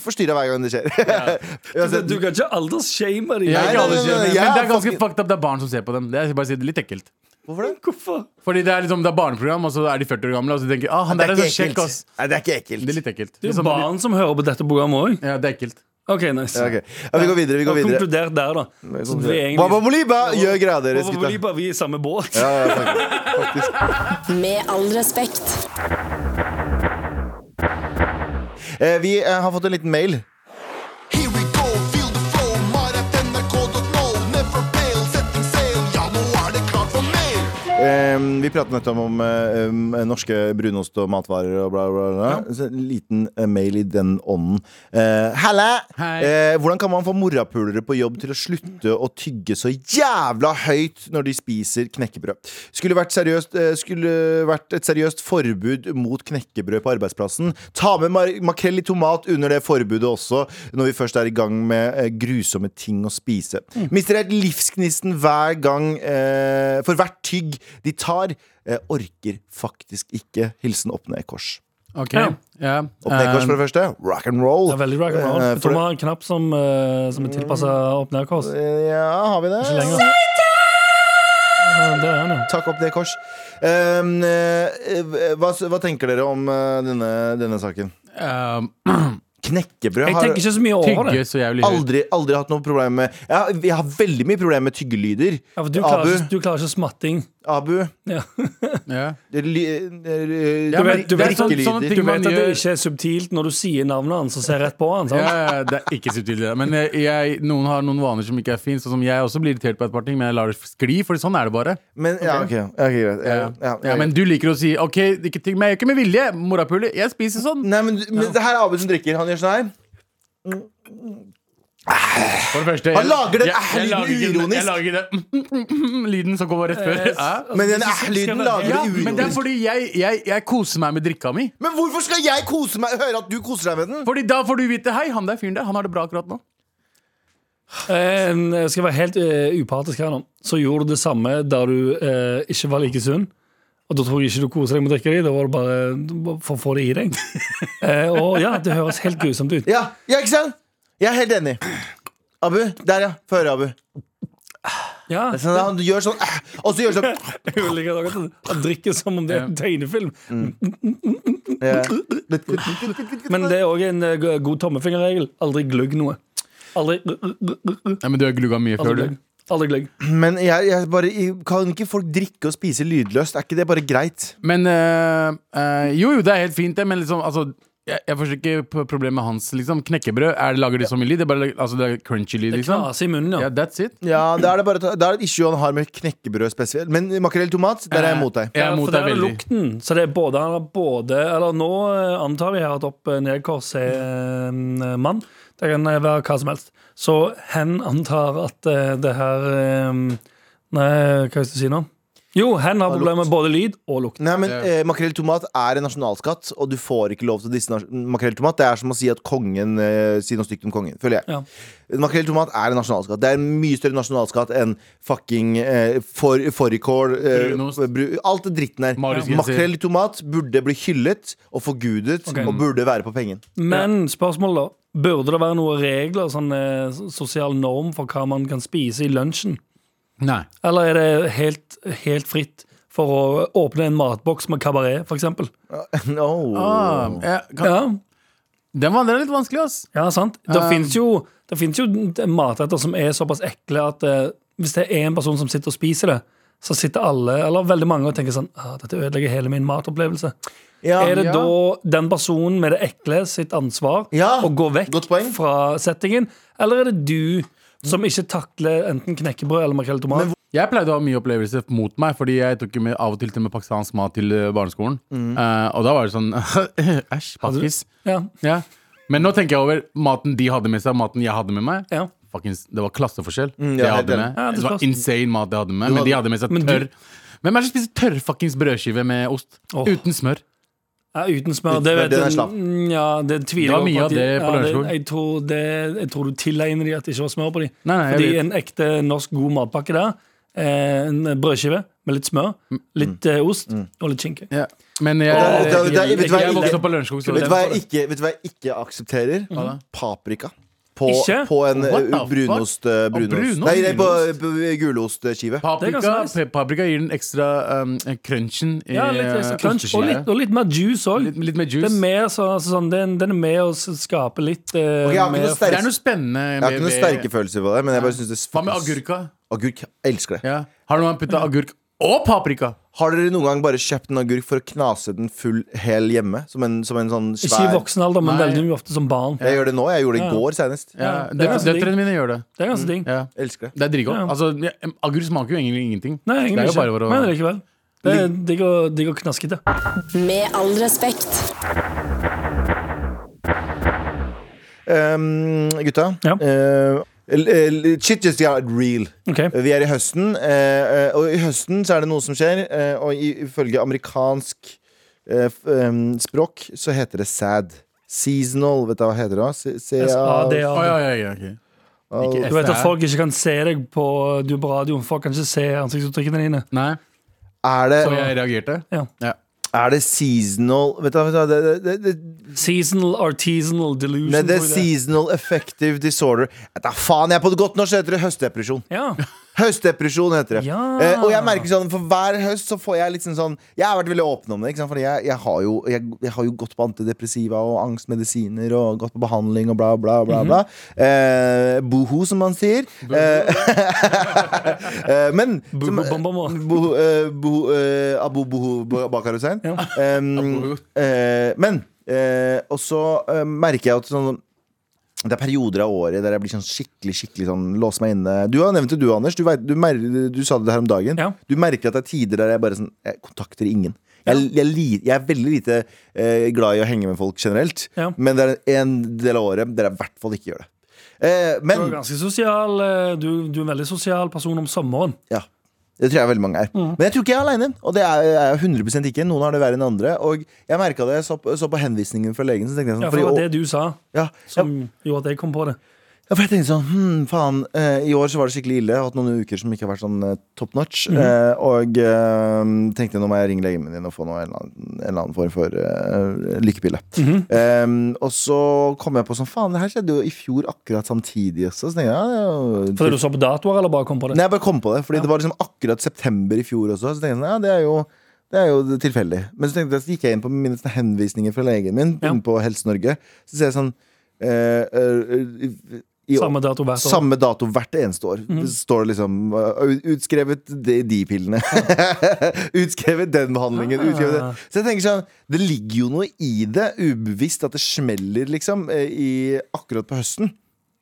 Speaker 2: forstyrra hver gang det skjer. [laughs] Uansett,
Speaker 3: Du kan ikke aldersshame dem.
Speaker 4: Jeg
Speaker 2: Altså,
Speaker 4: er
Speaker 2: Nei, nei, nei,
Speaker 4: ikke aldersskjønn,
Speaker 2: nei, jeg
Speaker 4: men det
Speaker 2: er
Speaker 4: er ganske
Speaker 2: fucking-
Speaker 4: fucked up. Det er barn som ser på dem. Det er bare å si det litt ekkelt.
Speaker 2: Hvorfor det?
Speaker 3: Hvorfor?
Speaker 4: Fordi det er liksom, det er barneprogram, og så er de 40 år gamle, og så tenker jeg, ah, han der er så kjekk, ass.
Speaker 2: Nei, det er ikke ekkelt.
Speaker 4: Det er litt ekkelt.
Speaker 3: Det er
Speaker 4: Liksom,
Speaker 3: jo barn som hører på dette programmet òg.
Speaker 4: Ja, det er ekkelt.
Speaker 3: OK, nice.
Speaker 2: Ja, ok. ja, vi går videre. Vi
Speaker 3: Da
Speaker 2: går videre.
Speaker 3: Konkludert der, da. Så vi er
Speaker 2: Wabba
Speaker 3: egentlig
Speaker 2: Boliba gjør greia deres,
Speaker 3: Wabba
Speaker 2: gutta.
Speaker 3: Boliba, vi er i samme båt.
Speaker 2: Ja, ja, faktisk. faktisk.
Speaker 1: Med all respekt.
Speaker 2: [laughs] Eh, vi eh, har fått en liten mail.
Speaker 5: Here we go, feel the flow, mar at nrk.no, never fail, setting sail, ja
Speaker 2: Em, Ehm, vi pratet nettopp om eh, em, norske brunost og matvarer og bla, bla, bla. Så en liten eh, mail i den ånden. Eh, Halla!
Speaker 4: Hei.
Speaker 2: Eh, hvordan kan man få morapulere på jobb til å slutte å tygge så jævla høyt når de spiser knekkebrød? Skulle vært, seriøst, eh, skulle vært et seriøst forbud mot knekkebrød på arbeidsplassen. Ta med mar makrell i tomat under det forbudet også, når vi først er i gang med eh, grusomme ting å spise.
Speaker 3: Mm.
Speaker 2: Mister helt livsgnisten hver gang eh, for hvert tygg de tar. Eh, orker faktisk ikke. Hilsen Opp ned kors.
Speaker 4: Ok,
Speaker 3: Ja.
Speaker 4: ja.
Speaker 2: Opp ned kors, for
Speaker 4: Eh,
Speaker 2: det første. Rock and roll.
Speaker 3: Um, Det er veldig rock and roll.
Speaker 2: Eh,
Speaker 3: Jeg
Speaker 2: for
Speaker 3: tror vi
Speaker 2: det- Mm.
Speaker 3: har en knapp som, eh, som er tilpassa opp ned-kors.
Speaker 2: Ja, har vi det?
Speaker 3: Ikke lenger. Eh, Det er han, ja.
Speaker 2: Takk opp det kors. Ehm, eh, hva, hva tenker dere om eh, denne, denne saken?
Speaker 4: eh,
Speaker 2: Knekkebrød
Speaker 3: Jeg
Speaker 2: har
Speaker 3: tenker ikke så mye over det.
Speaker 4: Tygge så jævlig høyt.
Speaker 2: aldri, aldri hatt noe problem med jeg har, Jeg har veldig mye problem med tyggelyder.
Speaker 3: Ja, for du, klarer
Speaker 2: Abu,
Speaker 3: ikke, du klarer ikke smatting.
Speaker 2: Abu
Speaker 3: Ja.
Speaker 4: Ja.
Speaker 2: det er ly- eh,
Speaker 4: Ja, men
Speaker 2: det er
Speaker 4: du vet sånn-
Speaker 2: drikkelyder.
Speaker 4: sånne ting-
Speaker 3: Du vet at det
Speaker 4: gjør-
Speaker 3: ikke er subtilt når du sier navnet hans og ser rett på han.
Speaker 4: Ja,
Speaker 3: Sant?
Speaker 4: ja, ja, det er ikke subtilt. det der. Men jeg, jeg, noen har noen vaner som ikke er fine. Sånn som jeg også blir irritert på et par ting, men jeg lar det skli, for sånn er det bare.
Speaker 2: Men ja, ok, ok, greit. Ja,
Speaker 4: Ja.
Speaker 2: ja,
Speaker 4: Ja, men du liker å si OK, ikke tygg meg, jeg gjør ikke med vilje. Morapuler, jeg spiser sånn.
Speaker 2: Nei, men, men det her er Abu som drikker. Han gjør sånn her.
Speaker 4: For det første,
Speaker 2: Han lager den æh-lyden
Speaker 4: lager ikke den-
Speaker 2: uironisk.
Speaker 4: Jeg lager den [laughs] lyden som går rett før. Æ?
Speaker 2: Men den
Speaker 3: Altså, hvis du skal
Speaker 2: æh-lyden
Speaker 3: være-
Speaker 2: lager
Speaker 4: Ja,
Speaker 2: det uironisk.
Speaker 4: Eh, men det er fordi jeg, jeg, jeg koser meg med drikka mi.
Speaker 2: Men hvorfor skal jeg kose meg høre at du koser deg med den?
Speaker 4: Fordi da får du vite Hei, han der fyren der, han har det bra akkurat nå.
Speaker 3: Eh, Jeg skal være helt eh, upartisk her nå. Så gjorde du det samme der du eh, ikke var like sunn. Og da tror jeg ikke du koser deg med å drikke det. Da var det bare bare for å få det i
Speaker 4: [laughs]
Speaker 3: deg. Eh, og ja, det høres helt grusomt ut.
Speaker 2: Ja, ja ikke sant? Jeg er helt enig. Abu. Der, ja. Få høre, Abu.
Speaker 3: Ja,
Speaker 2: Sånn, han gjør sånn æh, Og så gjør han sånn
Speaker 3: [laughs] jeg vil like at Han drikker som om det er en tegnefilm.
Speaker 2: eh, ja.
Speaker 3: Men det er òg en eh, go- god tommefingerregel. Aldri glugg noe. Aldri
Speaker 4: Nei, men du har glugga mye
Speaker 3: Aldri
Speaker 4: før,
Speaker 3: glugg.
Speaker 4: du.
Speaker 3: Aldri glugg.
Speaker 2: Men jeg, jeg bare jeg- Kan ikke folk drikke og spise lydløst? Er ikke det bare greit?
Speaker 4: Men øh, øh, Jo, jo, det er helt fint, det, men liksom altså jeg, jeg forstår ikke p- problemet med hans. liksom Knekkebrød, er det, lager de så mye lyd? Det er bare altså, det er crunchy lyd,
Speaker 3: Det
Speaker 4: liksom.
Speaker 3: knaser i munnen,
Speaker 4: Ja,
Speaker 3: ja.
Speaker 4: that's it.
Speaker 2: Ja, Da er det bare Da er det et issue han har med knekkebrød spesielt. Men makrell i tomat, der er jeg mot deg.
Speaker 4: Jeg er mot
Speaker 3: for der
Speaker 4: deg
Speaker 3: er
Speaker 4: veldig.
Speaker 3: lukten. Så det er både, han har både Eller nå eh, antar vi her at opp eh, nedkors er eh, en mann. Det kan eh, være hva som helst. Så hen antar at eh, det her eh, Nei, hva skal jeg si nå? Jo, hen har problemer med både lyd og lukt.
Speaker 2: Nei, men
Speaker 4: Ja.
Speaker 2: eh, Makrell i tomat er en nasjonalskatt, og du får ikke lov til å disse nas- makrell i tomat. Det er som å si at kongen eh, sier noe stygt om kongen, føler jeg.
Speaker 3: Ja.
Speaker 2: Makrell i tomat er en nasjonalskatt. Det er en mye større nasjonalskatt enn fucking eh, for, fårikål eh,
Speaker 4: Brunost.
Speaker 2: bru- Alt det dritten der.
Speaker 4: Marius genser.
Speaker 2: Makrell i tomat burde bli hyllet og forgudet,
Speaker 3: Ok.
Speaker 2: og burde være på [laughs] pengen.
Speaker 3: Men spørsmålet, da. Burde det være noen regler, sånn eh, sosial norm, for hva man kan spise i lunsjen?
Speaker 4: Nei.
Speaker 3: Eller er det helt, helt fritt for å åpne en matboks med kabaret, f.eks.?
Speaker 2: Oh.
Speaker 4: Ah, jeg, kan,
Speaker 3: Ja,
Speaker 4: Den var den er litt vanskelig, ass.
Speaker 3: Ja, sant? Det
Speaker 4: Um,
Speaker 3: finnes jo, det finnes jo matretter som er såpass ekle at eh, hvis det er en person som sitter og spiser det, så sitter alle, eller veldig mange, og tenker sånn ah, Dette ødelegger hele min matopplevelse.
Speaker 2: Ja,
Speaker 3: er det
Speaker 4: ja.
Speaker 3: da den personen med det ekle sitt ansvar
Speaker 2: Ja,
Speaker 3: å gå vekk
Speaker 2: godt poeng.
Speaker 3: fra settingen, eller er det du som ikke takler enten knekkebrød eller makrell i tomat?
Speaker 4: Jeg pleide å ha mye opplevelser mot meg, fordi jeg tok jo med, av og til til med pakistansk mat til eh, barneskolen.
Speaker 2: Mm.
Speaker 4: Eh, og da var det sånn [laughs] Æsj, pakkis.
Speaker 3: Ja,
Speaker 4: Ja. Men nå tenker jeg over maten de hadde med seg, og maten jeg hadde med meg.
Speaker 3: ja.
Speaker 4: Fuckings, det var klasseforskjell.
Speaker 2: Mm, ja,
Speaker 4: det jeg
Speaker 2: helt
Speaker 4: hadde
Speaker 2: enig.
Speaker 4: med
Speaker 3: Ja, det
Speaker 4: Det var
Speaker 3: spørs.
Speaker 4: insane mat jeg hadde med, men
Speaker 2: hadde-
Speaker 4: de hadde med seg
Speaker 3: Men du-
Speaker 4: tørr. Hvem er det som spiser tørr fuckings brødskive med ost?
Speaker 3: Åh.
Speaker 4: Uten smør.
Speaker 3: Ja, uten smør.
Speaker 2: Uten
Speaker 3: Det,
Speaker 2: smør,
Speaker 3: vet
Speaker 2: den er
Speaker 3: jeg-
Speaker 2: slapp.
Speaker 3: mm, Ja, det tviler
Speaker 4: Det
Speaker 3: jeg
Speaker 4: var mye
Speaker 3: på
Speaker 4: av
Speaker 3: at de-
Speaker 4: det på
Speaker 3: ja,
Speaker 4: Lørenskog.
Speaker 3: Jeg tror, det, jeg tror du tilegner de at det ikke var smør på de.
Speaker 4: Nei, nei, jeg
Speaker 3: Fordi
Speaker 4: vet.
Speaker 3: en ekte norsk god matpakke der, eh, en brødskive med litt smør,
Speaker 2: Mm.
Speaker 3: litt eh, ost og litt skinke.
Speaker 4: Ja. Men jeg,
Speaker 2: Åh,
Speaker 4: jeg,
Speaker 2: det- det-
Speaker 4: jeg,
Speaker 2: vet du hva, jeg-
Speaker 4: vokste opp på Lørenskog. så
Speaker 2: vet,
Speaker 4: det-
Speaker 2: du hva jeg ikke, vet du hva jeg ikke aksepterer?
Speaker 4: da?
Speaker 2: Paprika. På,
Speaker 3: Ikke?
Speaker 2: på en
Speaker 4: What the
Speaker 2: eh, brunost, eh,
Speaker 4: fuck?
Speaker 2: brunost.
Speaker 4: Brunost?
Speaker 2: Nei, nei, på, på gulostskive.
Speaker 3: Det er
Speaker 4: Paprika,
Speaker 3: ganske nice.
Speaker 4: pe- paprika gir den ekstra um, crunchen i
Speaker 3: Ja, litt,
Speaker 4: eh,
Speaker 3: ekstra crunch, og,
Speaker 4: osteskiva.
Speaker 3: litt, og litt mer juice òg.
Speaker 4: Litt, litt mer
Speaker 3: Det
Speaker 4: juice.
Speaker 3: er mer så, altså, sånn, den, den er med å s- skape litt eh,
Speaker 2: Ok, jeg har ikke
Speaker 3: mer-
Speaker 2: noe sterk-
Speaker 4: Det er noe spennende
Speaker 2: Jeg har ikke noen sterke følelser på det, men jeg bare synes det
Speaker 4: Hva med agurka?
Speaker 2: Agurk, jeg elsker det.
Speaker 4: Ja. Har noen putta agurk og paprika?
Speaker 2: Har dere noen gang bare kjøpt en agurk for å knase den full hel hjemme? Som en, som en sånn
Speaker 3: Ikke i
Speaker 2: svær
Speaker 3: voksen alder, men
Speaker 4: Nei.
Speaker 3: veldig mye ofte som barn.
Speaker 2: Jeg gjør det nå. Jeg gjorde det i
Speaker 3: Ja.
Speaker 2: går senest.
Speaker 4: Ja,
Speaker 3: Ja, det
Speaker 4: det
Speaker 3: er
Speaker 4: er
Speaker 3: ganske
Speaker 4: Døtrene mine gjør det.
Speaker 3: Det er ganske digg.
Speaker 4: Ja.
Speaker 2: Jeg elsker det.
Speaker 4: Det er dritgodt.
Speaker 3: Ja.
Speaker 4: Altså, ja, agurk smaker jo egentlig ingenting.
Speaker 3: Nei,
Speaker 4: det
Speaker 3: egentlig
Speaker 4: er jo
Speaker 3: ikke.
Speaker 4: bare for å
Speaker 3: Men likevel. Det er digg og, digg og knaskete.
Speaker 5: Med all respekt.
Speaker 2: Um, gutta.
Speaker 3: Ja.
Speaker 2: eh, l- l- shit just got real.
Speaker 3: Ok.
Speaker 2: Vi er i høsten, eh, eh, og i høsten så er det noe som skjer. eh, og i- ifølge amerikansk eh, f- em, språk så heter det sad. Seasonal, vet du hva heter det? C- C-
Speaker 3: SADA.
Speaker 4: Å, ja, ja, ja, ok. Ikke
Speaker 3: Du vet at
Speaker 4: SR.
Speaker 3: folk ikke kan se deg på du er på radioen. Folk kan ikke se ansiktsuttrykkene dine.
Speaker 4: Nei,
Speaker 2: Er
Speaker 4: så
Speaker 2: det,
Speaker 4: jeg reagerte?
Speaker 3: Ja.
Speaker 2: er det seasonal Vet du hva, vet du hva, det, det, det,
Speaker 3: Seasonal artisanal delusion.
Speaker 2: Nei, det er
Speaker 3: tror jeg det er.
Speaker 2: seasonal affective disorder. Da faen, jeg er på det godt norsk, så heter det høstdepresjon.
Speaker 3: Ja.
Speaker 2: Høstdepresjon heter det.
Speaker 3: Ja.
Speaker 2: Eh, og jeg merker sånn, for hver høst så får jeg liksom sånn Jeg har vært veldig åpen om det, ikke sant? Fordi jeg, jeg, har jo, jeg, jeg har jo gått på antidepressiva og angstmedisiner og gått på behandling og bla, bla, bla. bla. Eh, Mhm. boho, som man sier. Eh, [laughs] eh, men som-
Speaker 3: Bobo Bombamo.
Speaker 2: Boho, eh, boho, eh, Abu Boho Ba- Bakar Hussein. Em, eh, men eh, Og så eh, merker jeg at sånn det er perioder av året der jeg blir sånn skikkelig skikkelig sånn låse meg inne. Du har nevnt det, du, Anders. Du, vet, du, mer, du sa det her om dagen.
Speaker 3: Ja.
Speaker 2: Du merker at det er tider der jeg bare sånn Jeg kontakter ingen. Jeg, jeg, li- jeg er veldig lite eh, glad i å henge med folk generelt,
Speaker 3: Ja.
Speaker 2: men det er en del av året der jeg i hvert fall ikke gjør det. Eh,
Speaker 3: Du
Speaker 2: men
Speaker 3: er ganske sosial. eh, Du, du er en veldig sosial person om sommeren.
Speaker 2: Ja. Det tror jeg veldig mange er.
Speaker 3: Mm.
Speaker 2: Men jeg tror ikke jeg er aleine. Og det er jeg er 100 ikke. Noen har det verre enn andre. Og jeg merka det. Jeg så på, så på henvisningen fra legen. Så tenkte jeg sånn,
Speaker 3: Ja, for det var
Speaker 2: fordi,
Speaker 3: det du sa
Speaker 2: ja,
Speaker 3: som gjorde at jeg kom på det.
Speaker 2: ja, for jeg tenkte sånn, hm, faen eh, I år så var det skikkelig ille Jeg har hatt noen uker som ikke har vært sånn eh, top notch
Speaker 3: Mm.
Speaker 2: eh, Og eh, tenkte nå må jeg ringe legen min din Og få noe, en, eller annen, en eller annen form for eh, lykkepille
Speaker 3: Mm-hmm.
Speaker 2: eh, Og så kom jeg på sånn Faen, det her skjedde jo i fjor akkurat samtidig også Så tenkte jeg, ja, det er jo
Speaker 3: Fordi du så på datoer, eller bare kom på det?
Speaker 2: Nei, jeg bare kom på det, fordi det var liksom akkurat september i fjor også. Så tenkte jeg sånn, ja, det er jo det er jo tilfeldig. Men så, tenkte jeg, så gikk jeg inn på mine sånne henvisninger fra legen min
Speaker 3: Ja.
Speaker 2: inn på Helse Norge. Så ser jeg sånn eh, eh, i- i-
Speaker 3: Samme dato Mhm. hvert år.
Speaker 2: Samme dato hvert eneste år. Så står det liksom eh, ut- Utskrevet de, de pillene. [laughs] utskrevet den
Speaker 3: Ah.
Speaker 2: behandlingen. Utskrevet den. Så jeg tenker sånn Det ligger jo noe i det, ubevisst, at det smeller, liksom, eh, i, akkurat på høsten.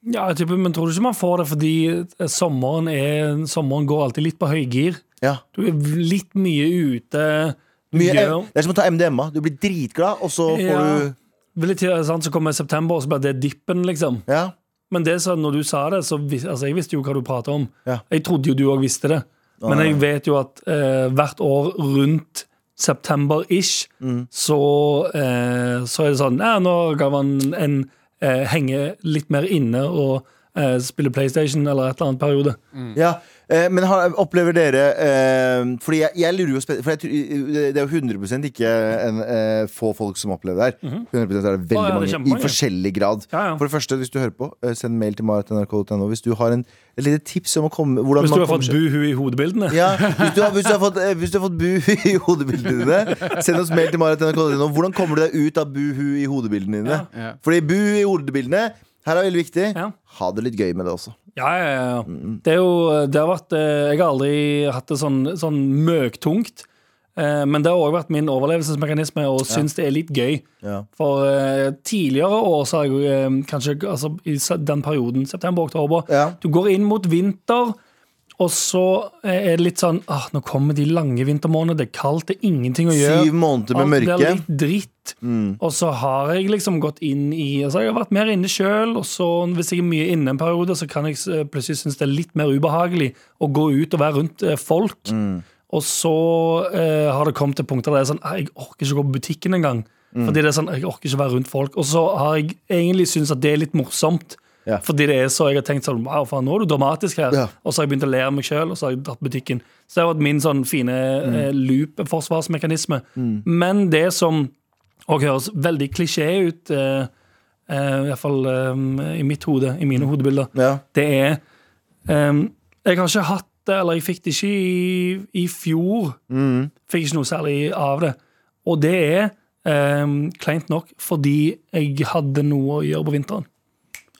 Speaker 3: Ja, jeg tipper, Men tror du ikke man får det fordi eh, sommeren, er, sommeren går alltid litt på høygir?
Speaker 2: Ja
Speaker 3: Du er v- litt mye ute. Du
Speaker 2: Mye,
Speaker 3: gjør-
Speaker 2: det er som å ta MDMA. Du blir dritglad, og så får
Speaker 3: Ja.
Speaker 2: du
Speaker 3: Veldig tidlig, eh, sant? Så kommer september, og så ble det dippen, liksom.
Speaker 2: ja.
Speaker 3: Men det så, når du sa det, så vis, altså, jeg visste jo hva du pratet om.
Speaker 2: Ja.
Speaker 3: Jeg trodde jo du òg visste det. Men jeg vet jo at eh, hvert år rundt september-ish, så, eh, så er det sånn Nei, nå kan man en eh, henge litt mer inne og eh, spille PlayStation eller et eller annet periode.
Speaker 2: ja. Eh, Men har, opplever dere eh, Fordi jeg, jeg lurer jo spe- For jeg, tror- det er jo 100 ikke en, eh, få folk som opplever det her. 100 er det veldig
Speaker 3: Mhm. Å, ja, det er
Speaker 2: mange i
Speaker 3: kjempemange.
Speaker 2: forskjellig grad.
Speaker 3: Ja, ja.
Speaker 2: For det første, hvis du hører på, eh, send mail til marit.nrk.no hvis du har en, et lite tips om å komme hvordan
Speaker 3: Hvis du
Speaker 2: man
Speaker 3: har
Speaker 2: kommer
Speaker 3: fått
Speaker 2: seg
Speaker 3: buhu i hodebildene.
Speaker 2: ja, hvis, du har, hvis, du har fått, eh, hvis du har fått buhu [laughs] i hodebildene dine, send oss mail til marit.nrk.no. Hvordan kommer du deg ut av buhu i hodebildene dine?
Speaker 4: Ja.
Speaker 2: Fordi buhu i hodebildene her er veldig viktig.
Speaker 3: Ja.
Speaker 2: Ha det litt gøy med det også.
Speaker 3: Ja, ja, ja. Det er jo det har vært, eh, Jeg har aldri hatt det sånn, sånn møktungt. eh, Men det har òg vært min overlevelsesmekanisme, og syns det er litt gøy.
Speaker 2: Ja.
Speaker 3: For eh, tidligere år så har jeg jo, eh, kanskje altså, i se- den perioden, september-oktober
Speaker 2: Ja.
Speaker 3: Du går inn mot vinter, og så eh, er det litt sånn ah, Nå kommer de lange vintermånedene, det er kaldt, det er ingenting å gjøre.
Speaker 2: Syv måneder med
Speaker 3: Alt
Speaker 2: mørke. Mm.
Speaker 3: blir litt dritt. Og så har jeg liksom gått inn i altså Jeg har vært mer inne sjøl, og så hvis jeg er mye inne en periode, så kan jeg s- plutselig synes det er litt mer ubehagelig å gå ut og være rundt eh, folk.
Speaker 2: Mm.
Speaker 3: Og så eh, har det kommet til punkter der jeg er sånn «Ah, Jeg orker ikke gå på butikken engang.
Speaker 2: Mm.
Speaker 3: Fordi det er sånn, jeg orker ikke være rundt folk Og så har jeg egentlig syntes at det er litt morsomt.
Speaker 2: Ja.
Speaker 3: Fordi det er så jeg har tenkt sånn Wow, faen, nå er du dramatisk her.
Speaker 2: Ja.
Speaker 3: Og så har jeg begynt å le av meg sjøl, og så har jeg dratt butikken. Så det har vært min sånn fine
Speaker 2: Mm.
Speaker 3: eh, loop-forsvarsmekanisme. Men det som og høres veldig klisjé ut, eh, eh, i hvert fall eh, i mitt hode, i mine hodebilder,
Speaker 2: Ja.
Speaker 3: det er ehm, Jeg har ikke hatt det, eller jeg fikk det ikke i, i fjor. Fikk ikke noe særlig av det. Og det er ehm, kleint nok fordi jeg hadde noe å gjøre på vinteren.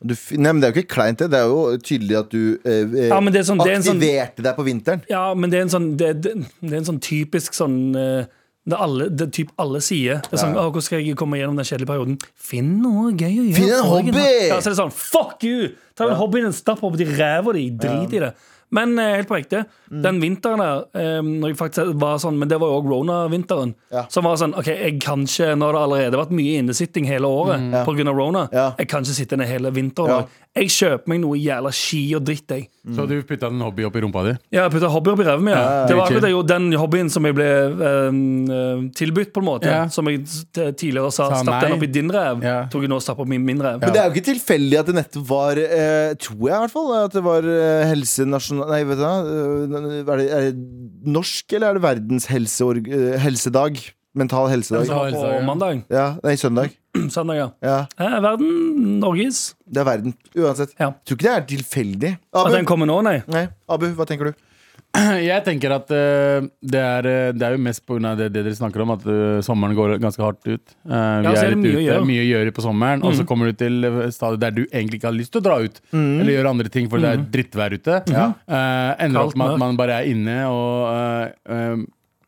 Speaker 2: Du, f- nei, men det er jo ikke kleint, det. Det er jo tydelig at du eh, eh,
Speaker 3: Ja, men det er sånn- det er en sånn-
Speaker 2: aktiverte deg på vinteren.
Speaker 3: Ja, men det er en sånn, det, det, det er en sånn typisk sånn eh, det, alle, det typ alle sier. Det er sånn, «Å, 'Hvordan skal jeg komme gjennom den kjedelige perioden?' Finn noe gøy å gjøre.
Speaker 2: Finn en
Speaker 3: på dagen, da.
Speaker 2: hobby!
Speaker 3: Ja, så er det sånn, Fuck you! Ta den hobbyen din, stapp opp i ræva di. Drit i det. Men eh, helt på ekte,
Speaker 2: Mm.
Speaker 3: den vinteren der, eh, når jeg faktisk var sånn, men det var jo òg rona-vinteren,
Speaker 2: Ja.
Speaker 3: som var sånn OK, jeg kan ikke, når det allerede har vært mye innesitting hele året På grunn pga. rona,
Speaker 2: Mm. Ja.
Speaker 3: jeg kan ikke sitte ned hele vinteren.
Speaker 2: Ja.
Speaker 3: og Jeg kjøper meg noe jævla ski og dritt, jeg.
Speaker 4: Så du putta en hobby opp i rumpa di?
Speaker 3: Ja, jeg putta hobby opp i ræva mi. Ja.
Speaker 4: ja,
Speaker 3: Det var
Speaker 4: chill.
Speaker 3: akkurat det, jo, den hobbyen som jeg ble eh, eh, tilbudt, på en måte.
Speaker 4: Ja.
Speaker 3: Som jeg s- t- tidligere sa,
Speaker 4: Sa
Speaker 3: stapp den
Speaker 4: nei.
Speaker 3: opp i din ræv.
Speaker 4: Ja.
Speaker 3: Tok jeg nå og stapp opp i min ræv.
Speaker 2: Men det er jo ikke tilfeldig at det nettopp var eh, Tror jeg i hvert fall At det var eh, helsenasjonal Nei, vet du hva eh, er, det, er det norsk eller er det verdens helseorg, eh, helsedag? Mental
Speaker 3: Den
Speaker 2: helsedag
Speaker 3: som var
Speaker 4: Ja,
Speaker 3: på
Speaker 4: ja.
Speaker 3: mandag.
Speaker 2: Ja, nei, søndag
Speaker 3: [clears throat] Søndag, ja.
Speaker 2: Ja,
Speaker 3: Eh, verden, Norges.
Speaker 2: det er verden Uansett
Speaker 3: Ja.
Speaker 2: Tror ikke det er tilfeldig
Speaker 3: At
Speaker 2: Abu,
Speaker 3: den kommer nå, nei.
Speaker 2: nei, Abu hva tenker du?
Speaker 4: [clears throat] Jeg tenker at eh, det, er, eh, det er jo mest pga. Det, det dere snakker om, at eh, sommeren går ganske hardt ut. Eh, vi
Speaker 3: Ja, så er
Speaker 4: er,
Speaker 3: det
Speaker 4: litt
Speaker 3: mye å
Speaker 4: ute,
Speaker 3: gjøre. Mm.
Speaker 4: mye å gjøre på sommeren, og så kommer du til eh, stadiet der du egentlig ikke har lyst til å dra ut. Eller gjøre andre ting, for det er drittvær ute. Eh, ender
Speaker 3: Mm. Kaldt,
Speaker 4: opp med
Speaker 3: mørkt.
Speaker 4: at man bare er inne og eh, eh,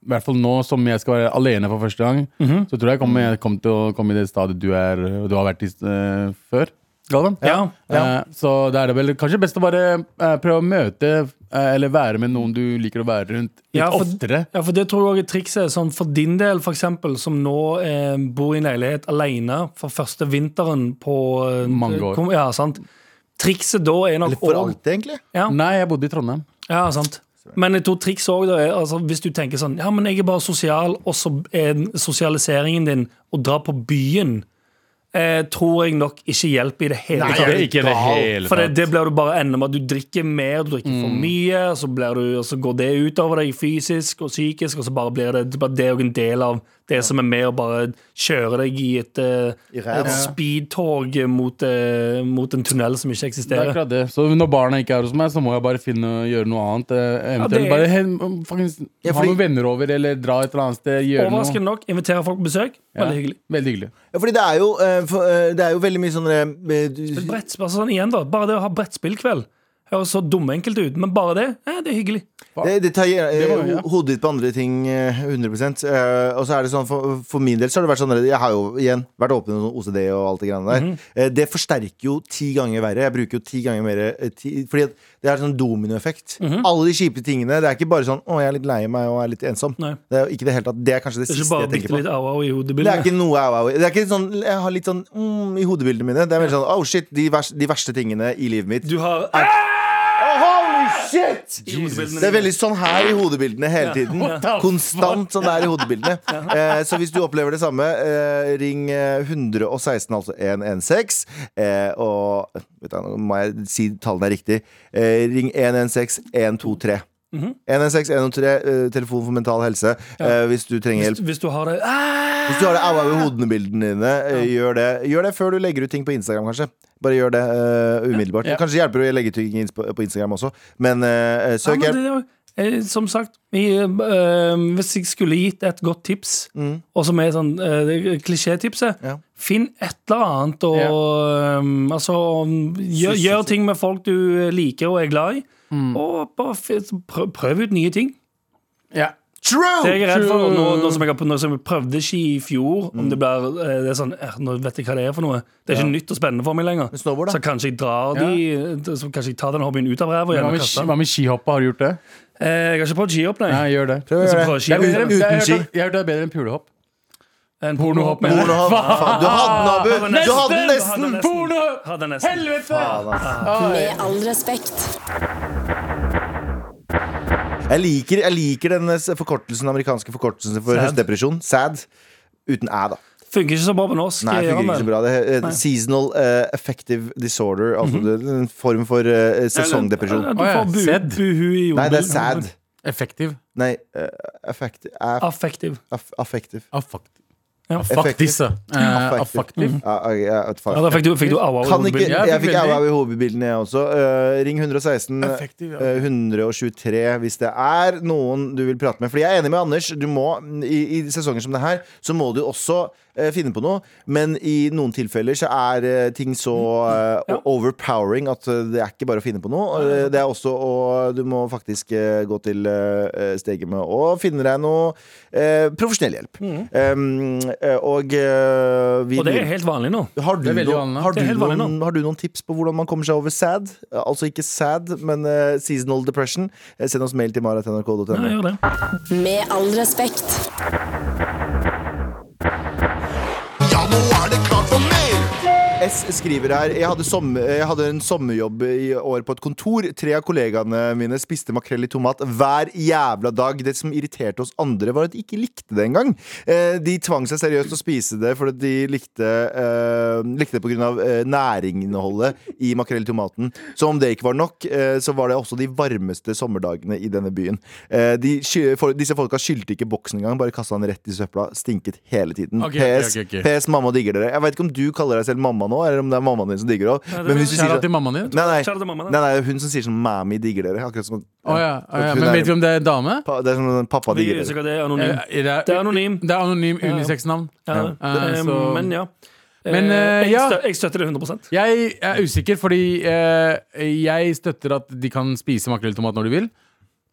Speaker 4: i hvert fall nå som jeg skal være alene for første gang,
Speaker 3: Mhm.
Speaker 4: så tror jeg jeg kommer, jeg kommer til å komme i det stadiet du, er, du har vært i eh, før. Galvan?
Speaker 3: Ja.
Speaker 4: Eh, Så da er det vel kanskje best å bare eh, prøve å møte eh, eller være med noen du liker å være rundt litt
Speaker 3: Ja, for-
Speaker 4: oftere.
Speaker 3: Ja, for det tror jeg også er trikset. Sånn for din del, for eksempel, som nå eh, bor i en leilighet alene for første vinteren på eh,
Speaker 4: Mange år.
Speaker 3: kom- Ja, sant. Trikset da er nok
Speaker 2: Eller for
Speaker 3: også-
Speaker 2: alltid egentlig?
Speaker 3: Ja.
Speaker 4: Nei, jeg bodde i Trondheim.
Speaker 3: Ja, sant. Men jeg tror triks også, da, er, altså, hvis du tenker sånn Ja, men jeg er bare sosial, og så er sosialiseringen din å dra på byen, eh, tror jeg nok ikke hjelper i det hele tatt.
Speaker 4: ikke det hele Mm.
Speaker 3: For det, det blir du bare ender med at du drikker mer, du drikker for mye, og så, blir du, og så går det utover deg fysisk og psykisk, og så bare blir det det, er bare det er jo en del av det som er med å bare kjøre deg i et, eh,
Speaker 2: I ræva.
Speaker 3: et speedtog mot, eh, mot en tunnel som ikke
Speaker 4: Det er
Speaker 3: eksisterer.
Speaker 4: akkurat det. Så når barna ikke er hos meg, så må jeg bare finne gjøre noe annet. eh, Eventuelt
Speaker 3: det-
Speaker 4: bare hen- faktisk,
Speaker 2: Ja,
Speaker 4: ha
Speaker 2: fordi-
Speaker 4: noen venner over, eller dra et eller annet sted. Gjøre noe.
Speaker 3: Overraskende nok inviterer folk på besøk.
Speaker 4: Ja,
Speaker 3: Veldig hyggelig.
Speaker 4: Veldig hyggelig.
Speaker 2: Ja, fordi det er jo, eh, for, eh, det er jo veldig mye sånne eh, du-
Speaker 3: Brettspill, altså sånn igjen da Bare det å ha brettspillkveld høres så dummenkelt ut, men bare det, eh, det er hyggelig.
Speaker 2: Det, det tar eh,
Speaker 4: Det var jo, ja.
Speaker 2: ho- hodet ditt på andre ting eh, 100 eh, Og så er det sånn, for, for min del så har det vært sånn Jeg har jo igjen vært åpen om OCD og alt det greiene der.
Speaker 3: Mhm.
Speaker 2: Eh, det forsterker jo ti ganger verre. Jeg bruker jo ti ganger mer eh, ti, Fordi at det er sånn dominoeffekt.
Speaker 3: Mhm.
Speaker 2: Alle de kjipe tingene. Det er ikke bare sånn 'Å, jeg er litt lei meg og er litt ensom'.
Speaker 3: Nei.
Speaker 2: Det er jo ikke det hele tatt. Det er kanskje det,
Speaker 3: Det er ikke
Speaker 2: siste
Speaker 3: bare
Speaker 2: jeg tenker
Speaker 3: bitte
Speaker 2: på.
Speaker 3: litt au-au i
Speaker 2: Det er
Speaker 3: hodebildet.
Speaker 2: ikke noe au, au. Det er ikke sånn, Jeg har litt sånn mm, i hodebildene mine. Det er mer sånn 'Oh shit, de, vers, de verste tingene i livet mitt'.
Speaker 3: Du har Ah!
Speaker 2: Oh, holy shit!
Speaker 3: i hodebildene
Speaker 2: Det er
Speaker 3: dine.
Speaker 2: veldig sånn her i hodebildene hele tiden. Konstant sånn der i
Speaker 3: [laughs]
Speaker 2: hodebildene. Eh, så hvis du opplever det samme, eh, ring eh, 116, altså 116. Eh, og vet du, nå må jeg si tallene er riktig. Eh, ring 116 123.
Speaker 3: Mhm.
Speaker 2: 116 123, eh, telefon for mental helse. Eh, hvis du trenger hjelp.
Speaker 3: Hvis, hvis du har det ah!
Speaker 2: Hvis du har det au-au i hodene-bildene dine, eh, gjør, det. gjør det før du legger ut ting på Instagram, kanskje. Bare gjør det eh, umiddelbart.
Speaker 4: Ja.
Speaker 2: Kanskje hjelper det å legge ut ting ins- på på Instagram også, men eh,
Speaker 3: ja,
Speaker 2: søk
Speaker 3: men
Speaker 2: hjelp.
Speaker 3: det, er jo- eh, Som sagt, vi, eh, eh, hvis jeg skulle gitt et godt tips, og som er sånn eh, det er klisjétipset
Speaker 2: Mm. Ja.
Speaker 3: Finn et eller annet og eh, altså, gjør, gjør ting med folk du eh, liker og er glad i.
Speaker 2: Mm.
Speaker 3: Og bare f- prøv, prøv ut nye ting.
Speaker 4: Ja.
Speaker 2: True!
Speaker 3: Det jeg er redd for
Speaker 4: True.
Speaker 3: nå, nå, som jeg, har- nå som jeg prøvde ski i fjor Om det blir eh, det er sånn, eh, Nå vet jeg hva det er for noe Det er ikke nytt og spennende for meg lenger
Speaker 2: Men snowboard, da?
Speaker 3: Så kanskje jeg drar de eh, Så kanskje jeg tar den hobbyen ut av ræva
Speaker 4: Men
Speaker 3: igjen
Speaker 4: Hva
Speaker 3: og
Speaker 4: med,
Speaker 3: kaster
Speaker 4: ski-
Speaker 3: den.
Speaker 4: hva med skihoppet, har du gjort det?
Speaker 3: eh, Jeg har ikke prøvd skihopp, nei
Speaker 4: Ja, gjør det.
Speaker 2: Prøv å
Speaker 3: Så
Speaker 2: gjøre
Speaker 3: prøver
Speaker 2: det.
Speaker 3: ski
Speaker 2: Uten-
Speaker 3: Eh,
Speaker 4: Det er bedre- det er-
Speaker 2: uten
Speaker 4: jeg har
Speaker 2: ski.
Speaker 4: hørt at- Jeg har hørt det er bedre enn pulehopp.
Speaker 3: En pornohopp,
Speaker 4: Pornohopp, mener jeg.
Speaker 2: Porno- Faen, Du hadde den, Abu! Du hadde den
Speaker 4: Nesten!
Speaker 3: Du hadde
Speaker 2: nesten!
Speaker 3: den.
Speaker 4: Porno!
Speaker 3: Ha den nesten
Speaker 4: Helvete!
Speaker 5: Med all respekt.
Speaker 2: Jeg liker, jeg liker den eh, forkortelsen, amerikanske forkortelsen for
Speaker 3: Sad.
Speaker 2: høstdepresjon. Sad. Uten æ, da.
Speaker 3: Funker ikke så bra på norsk eh,
Speaker 2: Nei, det
Speaker 3: gjør
Speaker 2: funker ikke
Speaker 3: den.
Speaker 2: så bra. Det heter Seasonal eh, affective disorder. Altså det er en form for eh,
Speaker 3: Ja,
Speaker 2: sesongdepresjon.
Speaker 3: Du
Speaker 4: Å, ja.
Speaker 3: får bu,
Speaker 4: Sedd.
Speaker 3: buhu i
Speaker 2: Nei, det er
Speaker 3: jordbunnen.
Speaker 2: sad.
Speaker 4: Effektiv.
Speaker 2: Nei, eh, affective aff,
Speaker 3: Affektiv
Speaker 2: aff, Affektiv.
Speaker 4: Affakt.
Speaker 3: Ja.
Speaker 4: Affaktis, ja. Eh,
Speaker 2: Affektiv. Mm.
Speaker 4: Affaktiv.
Speaker 2: Ja, ja, Ah, ja, vet faen.
Speaker 3: Ja, da fikk du, fikk du au-au i
Speaker 2: Kan ikke,
Speaker 3: hodebildet.
Speaker 4: Jeg
Speaker 2: jeg
Speaker 4: fikk
Speaker 2: fikk
Speaker 4: veldig-
Speaker 2: au i hodebildene, jeg også. Eh, ring 116
Speaker 4: Effektiv, ja.
Speaker 2: eh, 123 hvis det er noen du vil prate med. Fordi jeg er enig med Anders. Du må, i, I sesonger som det her så må du også eh, finne på noe. Men i noen tilfeller så er eh, ting så eh, o- overpowering at eh, det er ikke bare å finne på noe. Eh, Det er også å Du må faktisk eh, gå til eh, steget med å finne deg noe eh, profesjonell hjelp. Um, eh, og eh, vi
Speaker 3: Mm. Og det er
Speaker 2: lurer-
Speaker 3: helt vanlig nå.
Speaker 2: har du,
Speaker 4: Det er veldig
Speaker 2: noen,
Speaker 4: vanlig.
Speaker 2: har,
Speaker 3: Det
Speaker 2: du
Speaker 3: er helt vanlig
Speaker 2: noen, har du noen tips på hvordan man kommer seg over sad? Eh, Altså ikke sad, men eh, seasonal depression. Eh, Send oss mail til
Speaker 3: Ja,
Speaker 2: maratnrk.no.
Speaker 3: gjør det.
Speaker 5: Med all respekt.
Speaker 2: S skriver her jeg hadde, sommer, jeg hadde en sommerjobb i år på et kontor. Tre av kollegaene mine spiste makrell i tomat hver jævla dag. Det som irriterte oss andre, var at de ikke likte det engang. Eh, De tvang seg seriøst til å spise det fordi de likte, eh, likte det pga. Eh, næringinnholdet i makrell i tomaten. Som om det ikke var nok, eh, så var det også de varmeste sommerdagene i denne byen. Eh, De, sky- for, disse folka skyldte ikke boksen engang, bare kasta den rett i søpla. Stinket hele tiden.
Speaker 4: Ok, ok,
Speaker 2: PS,
Speaker 4: ok, ok.
Speaker 2: PS, mamma digger dere. Jeg vet ikke om du kaller deg selv mamma nå, eller om det er mammaen din som digger dere. Men hvis du sier
Speaker 4: Kjære
Speaker 2: sånn
Speaker 4: til mammaen din.
Speaker 2: Nei, nei,
Speaker 3: Kjære til mamma, da.
Speaker 2: nei, nei, hun som sier sånn 'mami digger dere'. Akkurat som
Speaker 4: Å ja, å ja.
Speaker 2: Hun
Speaker 4: Men
Speaker 2: er-
Speaker 4: vet du om det er dame?
Speaker 2: pa, Det er som sånn, 'pappa
Speaker 3: Vi
Speaker 2: digger
Speaker 3: er
Speaker 2: dere'.
Speaker 3: usikre, det er anonym.
Speaker 4: Eh, er
Speaker 3: Det er anonym.
Speaker 4: Det er anonym
Speaker 3: ja.
Speaker 4: unisex-navn.
Speaker 3: Ja.
Speaker 4: Eh,
Speaker 3: Eh,
Speaker 4: så-
Speaker 3: Men ja. Eh,
Speaker 4: Men, eh,
Speaker 3: jeg
Speaker 4: ja.
Speaker 3: stø- Jeg støtter det 100
Speaker 4: Jeg er usikker, fordi eh, jeg støtter at de kan spise makrell i tomat når de vil.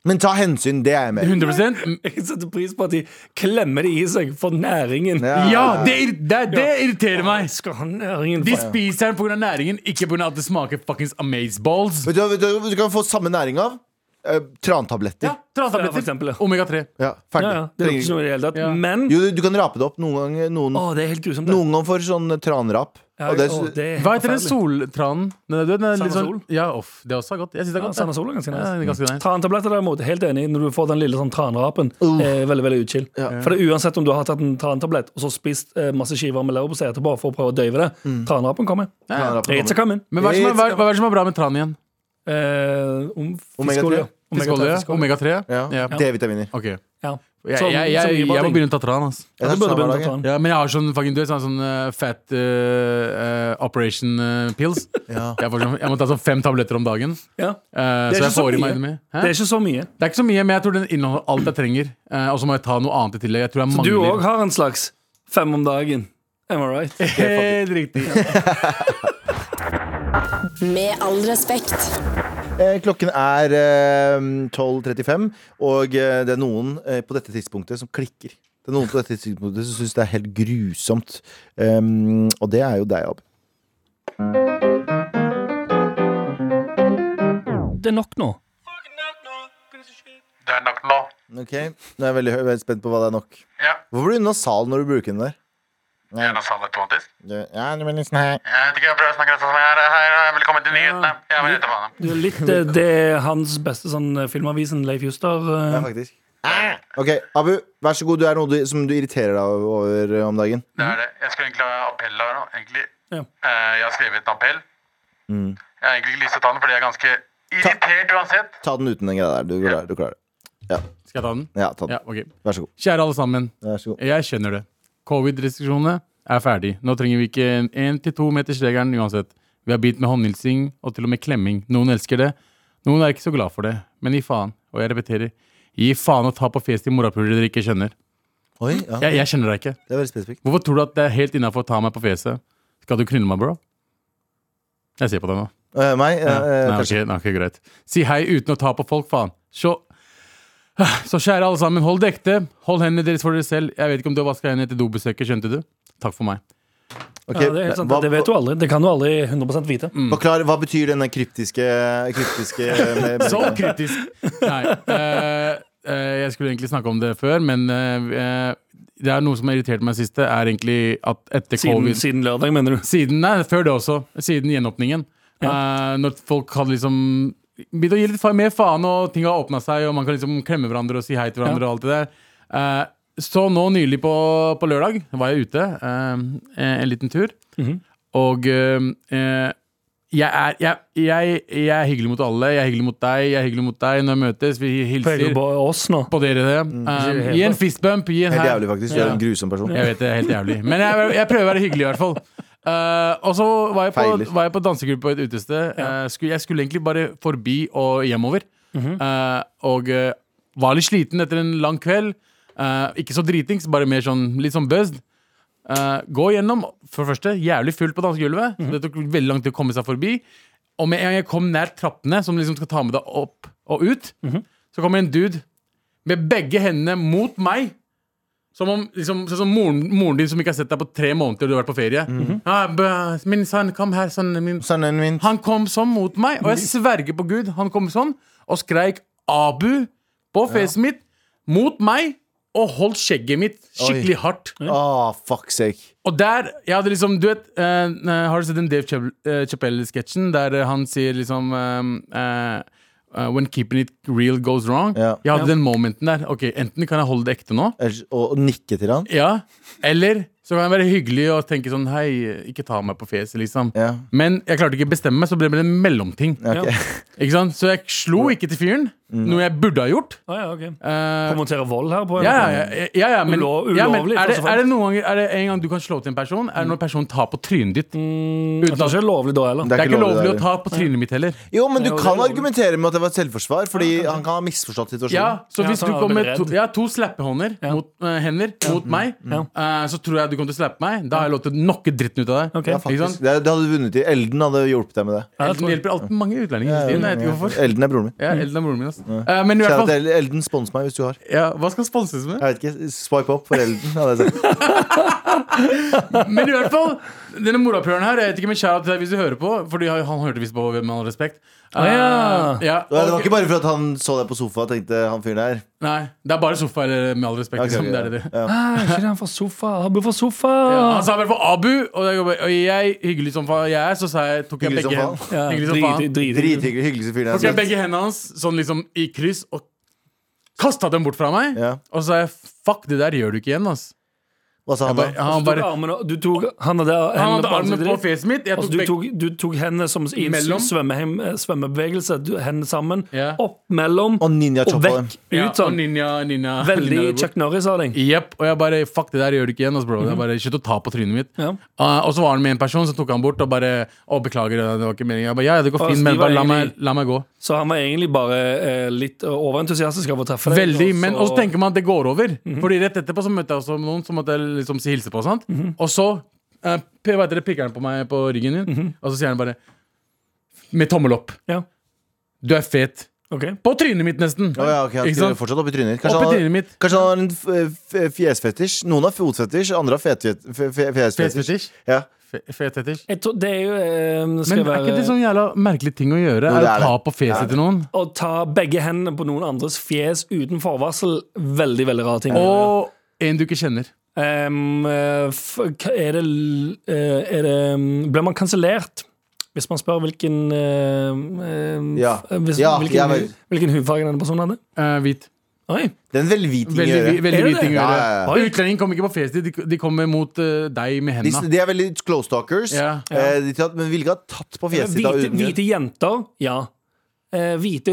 Speaker 2: Men ta hensyn, det er jeg med.
Speaker 4: 100
Speaker 3: [laughs] Jeg setter pris på at de klemmer det i seg for næringen.
Speaker 4: Ja, det, ir- det, det irriterer meg!
Speaker 3: Skal han næringen
Speaker 4: De
Speaker 3: fra-
Speaker 4: spiser den pga. næringen, ikke pga. at det smaker fuckings amazeballs.
Speaker 2: Vet du, hva- vet du, hva du kan få samme næring av eh, trantabletter.
Speaker 4: Ja,
Speaker 2: Ja.
Speaker 3: Ja, for eksempel,
Speaker 4: Transtabletter.
Speaker 3: ja.
Speaker 4: Omega-3.
Speaker 2: ferdig.
Speaker 3: Ja, ja. Det er
Speaker 2: Trenger-
Speaker 3: ikke noe i det hele tatt.
Speaker 4: Ja.
Speaker 3: Men
Speaker 2: jo, du, du kan rape det opp noen ganger. Noen,
Speaker 3: Å, det er helt grusomt. det.
Speaker 2: noen ganger for sånn tranrap.
Speaker 3: Ja,
Speaker 2: og det,
Speaker 3: å, det er helt
Speaker 4: Hva heter den
Speaker 3: forferdelig.
Speaker 4: soltranen? Den er, den er
Speaker 3: Sand
Speaker 4: litt sånn,
Speaker 3: og sol?
Speaker 4: ja, off, det også er godt. Jeg synes det er
Speaker 3: Ja,
Speaker 4: godt.
Speaker 3: Sand og sol Mm. er ganske
Speaker 4: Ja,
Speaker 3: nice.
Speaker 4: det er ganske nice.
Speaker 3: Trantabletter derimot, helt enig Når du får den lille sånn tranrapen eh, Veldig, veldig utskill For det er uansett om du har tatt en trantablett Og så spist eh, masse skiver med leverpostei etterpå For å prøve å døyve det Tranrapen kommer
Speaker 2: tranrapen
Speaker 3: It's a
Speaker 2: kommer.
Speaker 3: coming
Speaker 4: Men hva er, det som er, hva, hva er det som er bra med tran igjen?
Speaker 3: eh, Om
Speaker 2: Omega-3.
Speaker 3: fiskolje
Speaker 4: Fiskolje?
Speaker 3: Omega-3 Omega
Speaker 4: Omega-3?
Speaker 2: Ja.
Speaker 4: Ja.
Speaker 2: D-vitaminer.
Speaker 4: Ok. Jeg,
Speaker 3: ja.
Speaker 4: jeg, jeg, jeg, må begynne å ta tran. ass
Speaker 2: Jeg
Speaker 3: ja,
Speaker 2: tar
Speaker 3: Du burde
Speaker 2: samme
Speaker 3: begynne å
Speaker 2: dag,
Speaker 3: ta tran
Speaker 4: Ja, men jeg har sånn fucking, du vet, sånn, sånn eh, fat eh, eh, operation eh,
Speaker 3: [laughs]
Speaker 4: pills.
Speaker 2: Ja.
Speaker 4: Jeg, får sånn, jeg må ta sånn fem tabletter om dagen.
Speaker 3: ja.
Speaker 4: eh,
Speaker 3: Det er
Speaker 4: så
Speaker 3: ikke
Speaker 4: jeg
Speaker 3: så
Speaker 4: får
Speaker 3: mye.
Speaker 4: i meg det med. Hæ?
Speaker 3: Det er ikke så mye
Speaker 4: Det er ikke så mye, men jeg tror den inneholder alt jeg trenger. eh, og så må jeg ta noe annet i tillegg. Jeg tror
Speaker 3: Du
Speaker 4: jeg mangler
Speaker 3: også har en slags fem om dagen Am I [laughs] right?
Speaker 4: Helt riktig.
Speaker 5: Med all respekt.
Speaker 2: Eh, Klokken er eh, 12.35, og eh, det er noen eh, på dette tidspunktet som klikker. Det er noen på dette tidspunktet som syns det er helt grusomt. Um, og det er jo deg, Ab.
Speaker 3: Det er nok nå
Speaker 6: Det er nok nå.
Speaker 2: Ok, Nå er jeg veldig, hø- veldig spent på hva det er nok.
Speaker 6: Ja.
Speaker 2: Hvorfor blir du unna salen når du bruker den der?
Speaker 6: Gjerne salen automatisk.
Speaker 2: Det- Ja, det blir litt sånn her.
Speaker 6: Jeg vet ikke, jeg prøver å snakke rett sånn som jeg er. Hei, velkommen til nyhetene. Jeg vet ikke hva det er.
Speaker 3: Det er litt eh, det er hans beste sånn, eh, filmavisen Leif Juster eh,
Speaker 2: Ja, faktisk. Ah! Ok, Abu, vær så god. Du er noe du, som du irriterer deg over eh, om dagen.
Speaker 6: Det er det. Jeg skulle egentlig ha appell her nå, egentlig.
Speaker 3: Ja.
Speaker 6: Eh, Jeg har skrevet en appell. Jeg har egentlig ikke lyst til å ta den, fordi jeg er ganske irritert uansett.
Speaker 2: Ta den uten den greia der. Du klarer, du klarer det.
Speaker 4: Skal jeg ta den?
Speaker 2: Ja, ta den.
Speaker 4: Ja, Eh, ok.
Speaker 2: Vær så god.
Speaker 4: Kjære alle sammen.
Speaker 2: Vær så god.
Speaker 4: Jeg skjønner det. Covid-restriksjonene er ferdig. Nå trenger vi ikke én til to meters regelen uansett. Vi har begynt med håndhilsing og til og med klemming. Noen elsker det, noen er ikke så glad for det. Men gi faen. Og jeg repeterer, gi faen og ta på fjeset til morapulere dere ikke skjønner.
Speaker 2: Oi, ja,
Speaker 4: Jeg, jeg skjønner deg ikke.
Speaker 2: Det er veldig spesifikt.
Speaker 4: Hvorfor tror du at det er helt innafor å ta meg på fjeset? Skal du knulle meg, bro? Jeg ser på deg nå.
Speaker 2: Eh, meg? Ja, eh,
Speaker 4: Nei,
Speaker 2: kanskje.
Speaker 4: ok, nei, ok, greit. Si hei uten å ta på folk, faen. Så, eh, så kjære alle sammen, hold det ekte. Hold hendene deres for dere selv. Jeg vet ikke om du har vaska hendene etter dobesøket, skjønte du? Takk for meg.
Speaker 2: Ok,
Speaker 3: Ja, det, er helt sant.
Speaker 2: hva-
Speaker 3: det vet du aldri. Det kan du aldri 100 vite.
Speaker 2: Forklar, hva betyr denne kryptiske,
Speaker 4: [laughs]
Speaker 2: kryptiske eh, med, med,
Speaker 4: Så kritisk! [laughs] Nei. eh, eh, jeg skulle egentlig snakke om det før, men eh, eh, det er noe som har irritert meg siste, er egentlig at etter
Speaker 3: Siden,
Speaker 4: covid
Speaker 3: siden lørdag, mener du.
Speaker 4: Siden, nei, før det også. Siden gjenåpningen. Eh, når folk hadde liksom begynt å gi litt fa- mer faen, og ting har åpna seg, og man kan liksom klemme hverandre og si hei til hverandre. og alt det der Eh, Så nå nylig på, på lørdag var jeg ute eh, en liten tur.
Speaker 3: Mhm.
Speaker 4: Og eh, eh, jeg, er, jeg, jeg, jeg er hyggelig mot alle. Jeg er hyggelig mot deg, jeg er hyggelig mot deg når vi møtes. Vi
Speaker 3: Peker
Speaker 4: hilser
Speaker 3: på oss nå.
Speaker 4: på dere. det.
Speaker 3: Ikke
Speaker 4: Eh,
Speaker 3: helt,
Speaker 4: gi en
Speaker 3: da.
Speaker 4: fistbump. Gi en
Speaker 2: Helt
Speaker 4: hei.
Speaker 2: jævlig, faktisk. Du er en grusom person.
Speaker 4: Jeg vet det, helt jævlig. Men jeg, jeg prøver å være hyggelig, i hvert fall. Eh, og så var jeg, på,
Speaker 2: Feiler.
Speaker 4: var jeg på dansegruppe på et utested. Eh, skulle, jeg skulle egentlig bare forbi og hjemover. Eh, og eh, var litt sliten etter en lang kveld. Eh, ikke så dritings, bare mer sånn, litt sånn buzzed. Eh, gå gjennom, for det første, jævlig fullt på dansegulvet. så Det tok veldig lang tid å komme seg forbi. Og med en gang jeg kom nær trappene, som liksom skal ta med deg opp og ut, så kommer en dude med begge hendene mot meg. Som om liksom, sånn som moren, moren din som ikke har sett deg på tre måneder, og du har vært på ferie. «Ja, bø, min sønn, kom her, sønnen min.
Speaker 2: Sønnen min.
Speaker 4: Han kom sånn mot meg, og jeg sverger på Gud. Han kom sånn og skreik 'Abu' på fjeset mitt mot meg. Og holdt skjegget mitt skikkelig hardt.
Speaker 2: Ah, fuck sake.
Speaker 4: Og der, jeg hadde liksom, du vet eh, eh, Har du sett den Dave Chap- eh, Chappelle-sketsjen der eh, han sier liksom eh, eh, eh, When keeping it real goes wrong.
Speaker 2: Ja.
Speaker 4: Jeg hadde den momenten der. Ok, Enten kan jeg holde det ekte nå,
Speaker 2: Ellers- Og, og nikke til han.
Speaker 4: ja. Eller så kan jeg være hyggelig og tenke sånn Hei, ikke ta meg på fjeset, liksom.
Speaker 2: Ja.
Speaker 4: Men jeg klarte ikke å bestemme meg, så ble det en mellomting.
Speaker 2: Ok.
Speaker 4: Ikke sant? Så jeg slo ikke til fyren,
Speaker 2: Mm.
Speaker 4: noe jeg burde ha gjort.
Speaker 3: Å ja, ok.
Speaker 4: Eh,
Speaker 3: Promotere vold her på en
Speaker 4: ja,
Speaker 3: måte.
Speaker 4: ja, ja, ja, ja, men,
Speaker 3: Ulov-
Speaker 4: ja, men
Speaker 3: ulovlig,
Speaker 4: er, det,
Speaker 3: først og fremst.
Speaker 4: er det noen ganger Er det en gang du kan slå til en person? Er det
Speaker 2: Mm.
Speaker 4: når personen tar på trynet ditt?
Speaker 3: Mm, Jeg tror ikke det er lovlig da heller.
Speaker 4: Det er ikke lovlig å
Speaker 2: det.
Speaker 4: ta på trynet mitt heller.
Speaker 2: [laughs] Jo, men du
Speaker 3: Jo, det er
Speaker 2: kan
Speaker 3: lovlig.
Speaker 2: argumentere med at det var et selvforsvar, fordi han kan ha misforstått situasjonen.
Speaker 4: Ja, så
Speaker 3: Ja,
Speaker 4: hvis
Speaker 3: så
Speaker 4: du
Speaker 3: er han
Speaker 4: kommer med
Speaker 3: veldig
Speaker 4: to,
Speaker 3: redd.
Speaker 4: ja, to slappehånder mot, eh, hender mot meg, eh, så tror jeg du kommer til å slappe meg. Da har jeg lov til å knocke dritten ut av deg.
Speaker 3: Ok.
Speaker 2: Ja,
Speaker 4: Ikke
Speaker 2: faktisk.
Speaker 4: sant?
Speaker 2: Det, det hadde du vunnet i. Elden hadde hjulpet deg med det.
Speaker 3: Ja, jeg
Speaker 4: Elden
Speaker 3: tror-
Speaker 4: hjelper alltid mange utlendinger. i tiden, jeg vet ikke hvorfor.
Speaker 2: Elden er broren min.
Speaker 4: Ja, Elden er moren min, ass. Eh, men i hvert
Speaker 2: Kjære
Speaker 4: fall,
Speaker 2: til Elden, Elden, spons meg hvis du har.
Speaker 4: ja, hva skal sponses med?
Speaker 2: Jeg vet ikke, Swipe opp for Elden. Hadde
Speaker 4: [laughs]
Speaker 2: jeg sagt.
Speaker 4: Men i hvert fall, denne morapuleren her, jeg vet ikke, men kjære til deg hvis du hører på, fordi han han hørte visst på Med all respekt. Eh,
Speaker 3: ja.
Speaker 4: ja,
Speaker 2: Og Det var
Speaker 4: og-
Speaker 2: ikke bare for at han så deg på sofa og tenkte han fyren der.
Speaker 4: Nei, det er bare sofa, eller Med all respekt.
Speaker 2: Ok,
Speaker 4: liksom,
Speaker 2: ok,
Speaker 4: det er det det.
Speaker 2: ja.
Speaker 3: Ah, er ikke det han fra sofa? Abu fra sofa!
Speaker 4: Ja, han sa i hvert fall Abu, og jeg, og jeg hyggelig som faen jeg er, så sa jeg, tok jeg
Speaker 2: Hyggelig som
Speaker 4: begge
Speaker 2: faen.
Speaker 4: hendene. Hyggelig som faen.
Speaker 2: Drithyggelig. Hyggeligste fyren jeg
Speaker 4: Tok jeg
Speaker 2: har sett.
Speaker 4: begge hendene hans sånn liksom i kryss og kasta dem bort fra meg.
Speaker 2: Ja.
Speaker 4: Og så sa jeg fuck, det der gjør du ikke igjen. ass
Speaker 2: Hva sa han da?
Speaker 4: Bare, han bare
Speaker 3: Altså, du tok han hadde
Speaker 4: Han
Speaker 3: hendene
Speaker 4: hadde
Speaker 3: på
Speaker 4: armen
Speaker 3: ansiktet
Speaker 4: på
Speaker 3: ditt.
Speaker 4: fjeset mitt. Jeg
Speaker 3: Altså,
Speaker 4: tok
Speaker 3: du,
Speaker 4: begge
Speaker 3: tok, du tok hendene som i en
Speaker 4: Mellom.
Speaker 3: svømmehem- eh, svømmebevegelse. Du, hendene sammen.
Speaker 4: Ja.
Speaker 3: Opp, mellom
Speaker 2: Og ninja
Speaker 3: og
Speaker 2: choppa dem.
Speaker 3: vekk.
Speaker 4: ja,
Speaker 3: Ut sånn.
Speaker 4: og ninja, [laughs] ninja,
Speaker 3: Veldig
Speaker 4: ninja
Speaker 3: Chuck Norris-haling.
Speaker 4: Jepp. Og jeg bare fuck, det der gjør du ikke igjen. ass, bro.
Speaker 3: Mhm.
Speaker 4: Jeg bare Slutt å ta på trynet mitt.
Speaker 3: Ja.
Speaker 4: Ah, og så var han med en person, så tok han bort og bare Å, beklager, det var ikke meningen. Jeg bare, ja, ja, det går
Speaker 3: Ah,
Speaker 4: fint,
Speaker 3: så
Speaker 4: men
Speaker 3: de var
Speaker 4: bare la meg,
Speaker 3: egentlig-
Speaker 4: la meg gå.
Speaker 3: Så han var egentlig bare eh, litt overentusiastisk av å treffe deg. og
Speaker 4: Veldig,
Speaker 3: så-
Speaker 4: men også tenker man at det går over.
Speaker 3: Mhm.
Speaker 4: Fordi rett etterpå så møtte jeg også noen som måtte jeg liksom si hilse på. Og sånt
Speaker 3: Mhm.
Speaker 4: Og så eh, p- hva heter det, pikker han på meg på ryggen min,
Speaker 3: Mhm.
Speaker 4: og så sier han bare med tommel opp
Speaker 3: Ja,
Speaker 4: Du er fet.
Speaker 3: ok
Speaker 4: På trynet mitt, nesten.
Speaker 2: Å ja, ok, han
Speaker 4: Ikke
Speaker 2: skriver
Speaker 4: sant?
Speaker 2: fortsatt opp i trynet ditt.
Speaker 4: Opp i
Speaker 2: Kanskje,
Speaker 4: trynet
Speaker 2: han
Speaker 4: mitt.
Speaker 2: har- kanskje han har en f- f- fjesfetisj. Noen har fotfetisj, andre har fetfet- fe- fe- fjesfetisj.
Speaker 4: Fetfetisj.
Speaker 2: Ja.
Speaker 4: Fe- Fetfetisj.
Speaker 3: Jeg tror det er jo eh,
Speaker 4: Men
Speaker 3: skal
Speaker 4: er ikke
Speaker 3: være,
Speaker 4: det sånn jævla merkelig ting å gjøre?
Speaker 2: Jo,
Speaker 4: er
Speaker 2: det
Speaker 4: å
Speaker 2: er
Speaker 4: ta
Speaker 2: det.
Speaker 4: på fjeset til noen?
Speaker 3: Å ta begge hendene på noen andres fjes uten forvarsel, veldig veldig rar ting.
Speaker 4: Og en du ikke kjenner.
Speaker 3: Em, eh, f hva er det, l- eh, er det em, Blir man kansellert hvis man spør hvilken em, em,
Speaker 2: Ja.
Speaker 3: f- eh, hvis,
Speaker 2: Ja, jeg
Speaker 3: hvilken,
Speaker 2: vet.
Speaker 3: hu- hvilken hudfarge denne personen hadde?
Speaker 4: Eh, hvit.
Speaker 3: Oi,
Speaker 2: Det er en velviting å
Speaker 4: Veldig, vi-
Speaker 2: gjøre.
Speaker 4: veldig
Speaker 3: Er det
Speaker 4: hvit ting
Speaker 2: det?
Speaker 4: å gjøre.
Speaker 2: Ja, ja, ja.
Speaker 4: Og Utlendingen kommer ikke på fjeset ditt, de, de kommer mot eh, deg med
Speaker 2: De,
Speaker 4: hendene.
Speaker 2: de er veldig close talkers.
Speaker 4: Ja.
Speaker 2: Eh, de tatt, men ville ikke ha tatt på fjeset ditt. av
Speaker 3: hvite,
Speaker 2: uten grunn.
Speaker 3: hvite jenter, ja. Eh, hvite,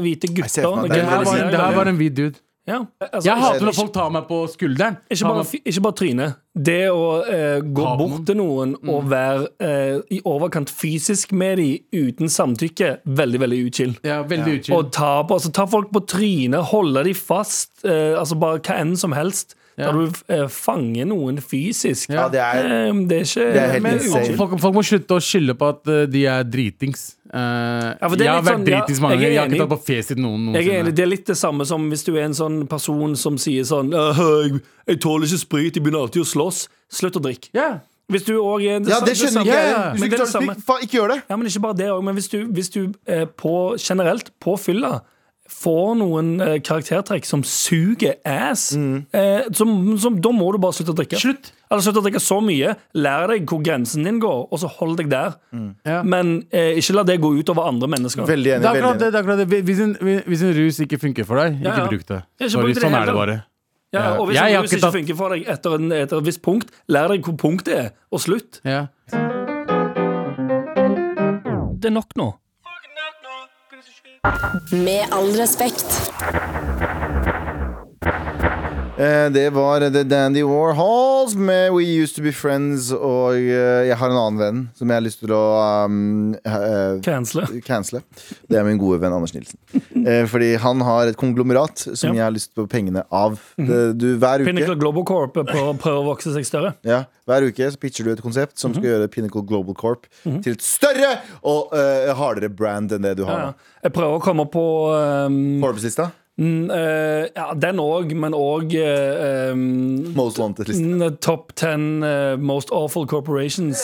Speaker 3: hvite
Speaker 2: ser for
Speaker 3: gutter
Speaker 2: meg
Speaker 4: Det
Speaker 2: det er
Speaker 4: her
Speaker 2: veldig
Speaker 4: var,
Speaker 2: sikkert.
Speaker 4: det her var en hvit dude.
Speaker 3: ja. altså,
Speaker 4: Jeg hater når
Speaker 3: ikke-
Speaker 4: folk tar meg på skulderen.
Speaker 3: Ikke
Speaker 4: Tar
Speaker 3: bare,
Speaker 4: meg-
Speaker 3: fy- ikke bare trynet. Det å eh, gå
Speaker 4: Ta på
Speaker 3: bort
Speaker 4: noen.
Speaker 3: til noen
Speaker 4: Mm.
Speaker 3: og være eh, i overkant fysisk med dem uten samtykke, veldig, veldig uchill.
Speaker 4: ja, veldig utkyld.
Speaker 3: Og ta, på, altså, ta folk på trynet, holde dem fast, eh, altså bare hva enn som helst.
Speaker 4: Ja.
Speaker 3: Der du eh, fanger noen fysisk.
Speaker 2: Ja, det er
Speaker 3: Eh, det er ikke
Speaker 2: Det er helt
Speaker 3: men-
Speaker 2: insane.
Speaker 3: uchill.
Speaker 4: folk, folk må slutte å skylde på at eh, de er dritings. Eh,
Speaker 3: for det er
Speaker 4: jeg har
Speaker 3: litt
Speaker 4: vært
Speaker 3: sånn, ja,
Speaker 4: dritings mange
Speaker 3: jeg er
Speaker 4: ganger. Jeg har ikke
Speaker 3: enig.
Speaker 4: tatt på fjeset til noen
Speaker 3: Jeg er enig,
Speaker 4: noensinne.
Speaker 3: Det er litt det samme som hvis du er en sånn person som sier sånn «Øh, jeg, 'Jeg tåler ikke sprit, jeg begynner alltid å slåss'. Slutt å drikke.
Speaker 4: Ja.
Speaker 3: Hvis du også er
Speaker 2: Ja, det skjønner ikke
Speaker 3: samme-
Speaker 4: ja,
Speaker 2: jeg. Du
Speaker 3: Men
Speaker 4: ja.
Speaker 2: skulle
Speaker 3: det er
Speaker 2: ikke
Speaker 3: det
Speaker 2: ta
Speaker 3: samme.
Speaker 2: spikk. Faen, ikke gjør det.
Speaker 3: Ja, men ikke bare det òg. Men hvis du, hvis du eh, på, generelt på fylla får noen eh, karaktertrekk som suger ass, eh, som, som, da må du bare slutte å drikke.
Speaker 4: Slutt.
Speaker 3: Eller slutt å drikke så mye. Lær deg hvor grensen din går, og så hold deg der.
Speaker 4: Ja.
Speaker 3: Men eh, ikke la det gå ut over andre mennesker.
Speaker 2: Veldig
Speaker 4: Det
Speaker 2: enig.
Speaker 4: er akkurat
Speaker 2: Veldig enig.
Speaker 4: det. det, er akkurat det. Hvis, en, hvis en rus ikke funker for deg,
Speaker 3: Ja, ja.
Speaker 4: ikke bruk det.
Speaker 3: Ja, ikke
Speaker 4: Sorry,
Speaker 3: bruk det
Speaker 4: sånn
Speaker 3: heller.
Speaker 4: er det bare.
Speaker 3: Ja, og hvis
Speaker 4: Jeg
Speaker 3: en
Speaker 4: har
Speaker 3: rus
Speaker 4: ikke
Speaker 3: ikke
Speaker 4: tatt-
Speaker 3: funker for deg etter, en, etter et visst punkt, lær deg hvor punktet er, og slutt.
Speaker 4: Ja. [laughs]
Speaker 3: Det er nok nå.
Speaker 5: Med all respekt.
Speaker 2: Eh, Det var The Dandy Warhols med We Used To Be Friends. Og eh, jeg har en annen venn som jeg har lyst til å um, eh,
Speaker 3: Cancele.
Speaker 2: cancele. Det er min gode venn Anders Nilsen. Eh, fordi han har et konglomerat som
Speaker 3: Ja.
Speaker 2: jeg har lyst på pengene av. Det, du, hver uke
Speaker 3: Pinnacle Global Corp eh, prøver, prøver å vokse seg større.
Speaker 2: ja, hver uke så pitcher du et konsept som
Speaker 3: Mhm.
Speaker 2: skal gjøre Pinnacle Global Corp til et større og eh, hardere brand enn det du har
Speaker 3: Ja.
Speaker 2: nå.
Speaker 3: Jeg prøver å komme på um,
Speaker 2: Forbes-lista?
Speaker 3: mm, eh, ja, den òg, men òg eh, mm,
Speaker 2: Most Wanted-lista.
Speaker 3: Top ten eh, most
Speaker 2: [laughs]
Speaker 3: awful corporations.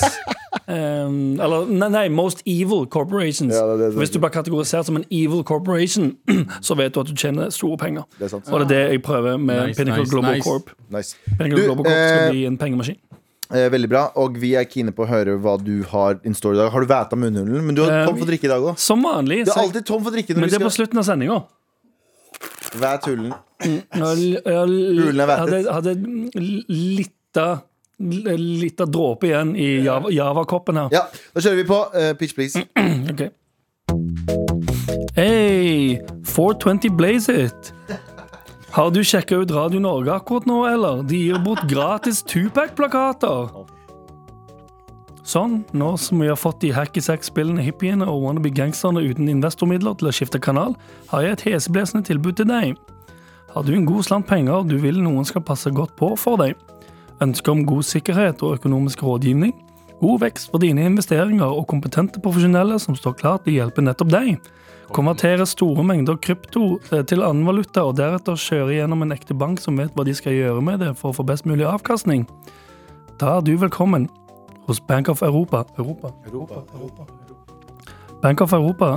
Speaker 3: Um, eller nei, nei, most evil corporations.
Speaker 2: Ja, det er det som-
Speaker 3: Hvis du blir kategorisert som en evil corporation, [clears throat] så vet du at du tjener store penger.
Speaker 2: Det er sant.
Speaker 3: Og det er det jeg prøver med
Speaker 4: Nice,
Speaker 3: Pinnacle
Speaker 4: nice,
Speaker 3: Global
Speaker 4: nice.
Speaker 3: Corp.
Speaker 2: Nice.
Speaker 3: Pinnacle
Speaker 2: Du,
Speaker 3: Global Corp skal
Speaker 2: eh,
Speaker 3: bli en pengemaskin.
Speaker 2: eh, veldig bra. Og vi er kine på å høre hva du har in store i dag. Har du væta munnhulen? Men du har
Speaker 3: Eh,
Speaker 2: tom for drikke i dag òg.
Speaker 3: Som vanlig.
Speaker 2: Du er
Speaker 3: så-
Speaker 2: alltid tom for drikke når
Speaker 3: men
Speaker 2: du
Speaker 3: det er på
Speaker 2: skal
Speaker 3: slutten av sendinga.
Speaker 2: Væt hulen.
Speaker 3: Jeg, jeg,
Speaker 2: Hulen er
Speaker 3: hadde,
Speaker 2: vettet.
Speaker 3: hadde litt av Litt av dråpe igjen i Java- Java-koppen her.
Speaker 2: Ja, da kjører vi på eh, Pitch Please.
Speaker 3: Ok. Hey, 420 Blaze It. Har du sjekka ut Radio Norge akkurat nå, eller? De gir bort gratis Tupac-plakater. Sånn, nå som vi har fått de hacky-sack-spillene, hippiene og wannabe-gangsterne uten investormidler til å skifte kanal, har jeg et heseblesende tilbud til deg. Har du en god slant penger du vil noen skal passe godt på for deg? Ønsker om god sikkerhet og økonomisk rådgivning? God vekst for dine investeringer og kompetente profesjonelle som står klar til å hjelpe nettopp deg. Konvertere store mengder krypto eh, til annen valuta og deretter kjøre gjennom en ekte bank som vet hva de skal gjøre med det for å få best mulig avkastning. Da er du velkommen hos Bank of Europa. Europa. Bank of Europa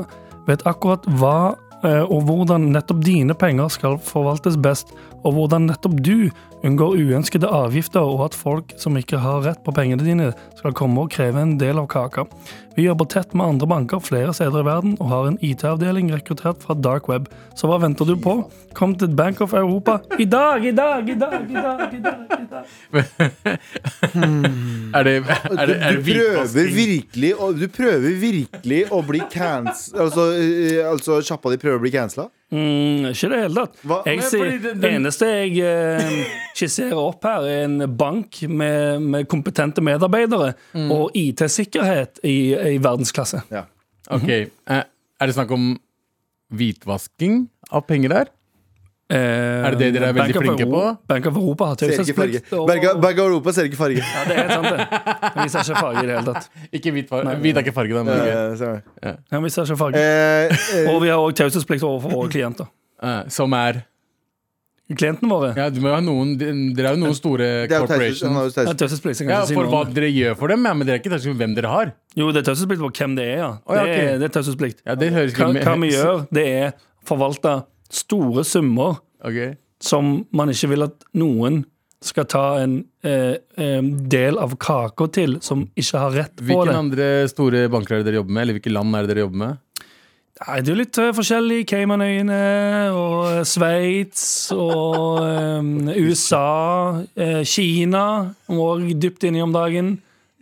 Speaker 3: vet akkurat hva eh, og hvordan nettopp dine penger skal forvaltes best, og hvordan nettopp du unngår uønskede avgifter, og at folk som ikke har rett på pengene dine, skal komme og kreve en del av kaka. Vi jobber tett med andre banker flere steder i verden, og har en IT-avdeling rekruttert fra dark web. Så hva venter du på? Kom til Bank of Europa i dag, i dag, i dag, i dag! i dag, i dag.
Speaker 4: Er det, er det, er
Speaker 2: Du
Speaker 4: det
Speaker 2: prøver
Speaker 4: hvitvasking?
Speaker 2: virkelig å, du prøver virkelig å bli cancel... Altså, eh, altså sjappa di prøver å bli cancela?
Speaker 3: Mm, ikke i det hele tatt.
Speaker 2: Hva-
Speaker 3: Jeg
Speaker 4: Men
Speaker 3: sier,
Speaker 4: fordi
Speaker 3: det,
Speaker 4: den- den-
Speaker 3: eneste jeg eh, skisserer opp her, er en bank med, med kompetente medarbeidere
Speaker 4: Mm.
Speaker 3: og IT-sikkerhet i, i verdensklasse.
Speaker 2: Ja.
Speaker 4: Ok, eh, Er det snakk om hvitvasking av penger der?
Speaker 3: Eh,
Speaker 4: det det dere er
Speaker 3: Bank
Speaker 4: veldig
Speaker 3: of
Speaker 4: flinke
Speaker 3: Euro-
Speaker 4: på?
Speaker 3: Bank of Europa har
Speaker 2: Ser ikke farge.
Speaker 3: taushetsplikt. og-
Speaker 2: Berga, Berga Europa ser ikke farge.
Speaker 3: Ja, det er helt sant, det. Vi ser ikke farge i det hele tatt.
Speaker 4: Ikke hvit, far hvit er ikke farge, da. Men, ok.
Speaker 2: Eh, ser du.
Speaker 3: Ja, vi ser ikke farge.
Speaker 2: Eh, eh,
Speaker 3: Og vi har òg taushetsplikt overfor våre klienter.
Speaker 4: Eh, som er
Speaker 3: Klientene våre
Speaker 4: Ja, du må jo ha noen Dere er jo noen store
Speaker 2: det er jo Theis- han
Speaker 4: corporations.
Speaker 2: har jo Theis-
Speaker 3: Ja, taushetsplikt. så jeg kan
Speaker 4: Ja,
Speaker 3: ikke si
Speaker 4: For
Speaker 3: noe
Speaker 4: hva
Speaker 3: om det.
Speaker 4: dere gjør for dem, ja, men dere er ikke taushetsplikt om hvem dere har.
Speaker 3: Jo, det er taushetsplikt på hvem det er, ja.
Speaker 4: Å, ja,
Speaker 3: Det er,
Speaker 4: ok.
Speaker 3: det er taushetsplikt.
Speaker 4: Ja, det høres
Speaker 3: Hva,
Speaker 4: ikke
Speaker 3: hva vi gjør, det er forvalte store summer
Speaker 4: [laughs] Ok.
Speaker 3: som man ikke vil at noen skal ta en eh, eh, del av kaka til, som ikke har rett på
Speaker 4: Hvilke
Speaker 3: det.
Speaker 4: andre store banker er det dere jobber med? Eller hvilke land er det dere jobber med?
Speaker 3: Nei, det er jo litt eh, forskjellig. Caymanøyene og eh, Sveits og eh, USA. Eh, Kina og dypt inni om dagen.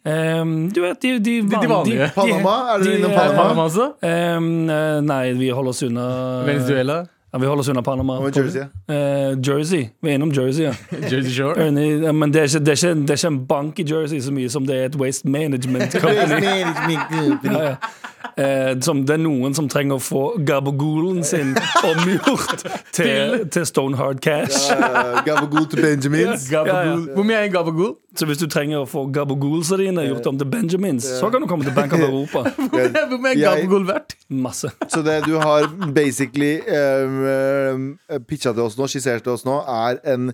Speaker 3: Eh, du vet, de, de, van-
Speaker 4: vanlige.
Speaker 2: Panama? Er dere
Speaker 3: de-
Speaker 2: innom
Speaker 3: eh,
Speaker 2: Panama?
Speaker 4: Panama også?
Speaker 3: eh, nei, vi holder oss unna
Speaker 4: Eh, Venezuela?
Speaker 3: Ja, vi holder oss unna Panama.
Speaker 2: Og Jersey.
Speaker 3: Eh, Jersey. Vi er innom Jersey, ja.
Speaker 4: [laughs] Jersey Shore?
Speaker 3: Ernie, ja, Men det er, ikke, det, er ikke, det er ikke en bank i Jersey så mye som det er et waste
Speaker 4: [laughs]
Speaker 3: management company. Ja, ja. Eh, som det er noen som trenger å få gabagulen sin omgjort til, til Stonehard Cash.
Speaker 2: Eh, Gabagool til Benjamins.
Speaker 4: Gabagool. Hvor mye er en gabagool?
Speaker 3: Så hvis du trenger å få gabagulsa dine gjort om til Benjamins, så kan du komme til Bank
Speaker 4: [laughs]
Speaker 3: of Europa.
Speaker 4: [laughs] Hvor mye er en
Speaker 2: Jeg-
Speaker 4: gabagool verdt?
Speaker 3: Masse.
Speaker 2: Så det du har basically um, pitcha til oss nå, skissert til oss nå, er en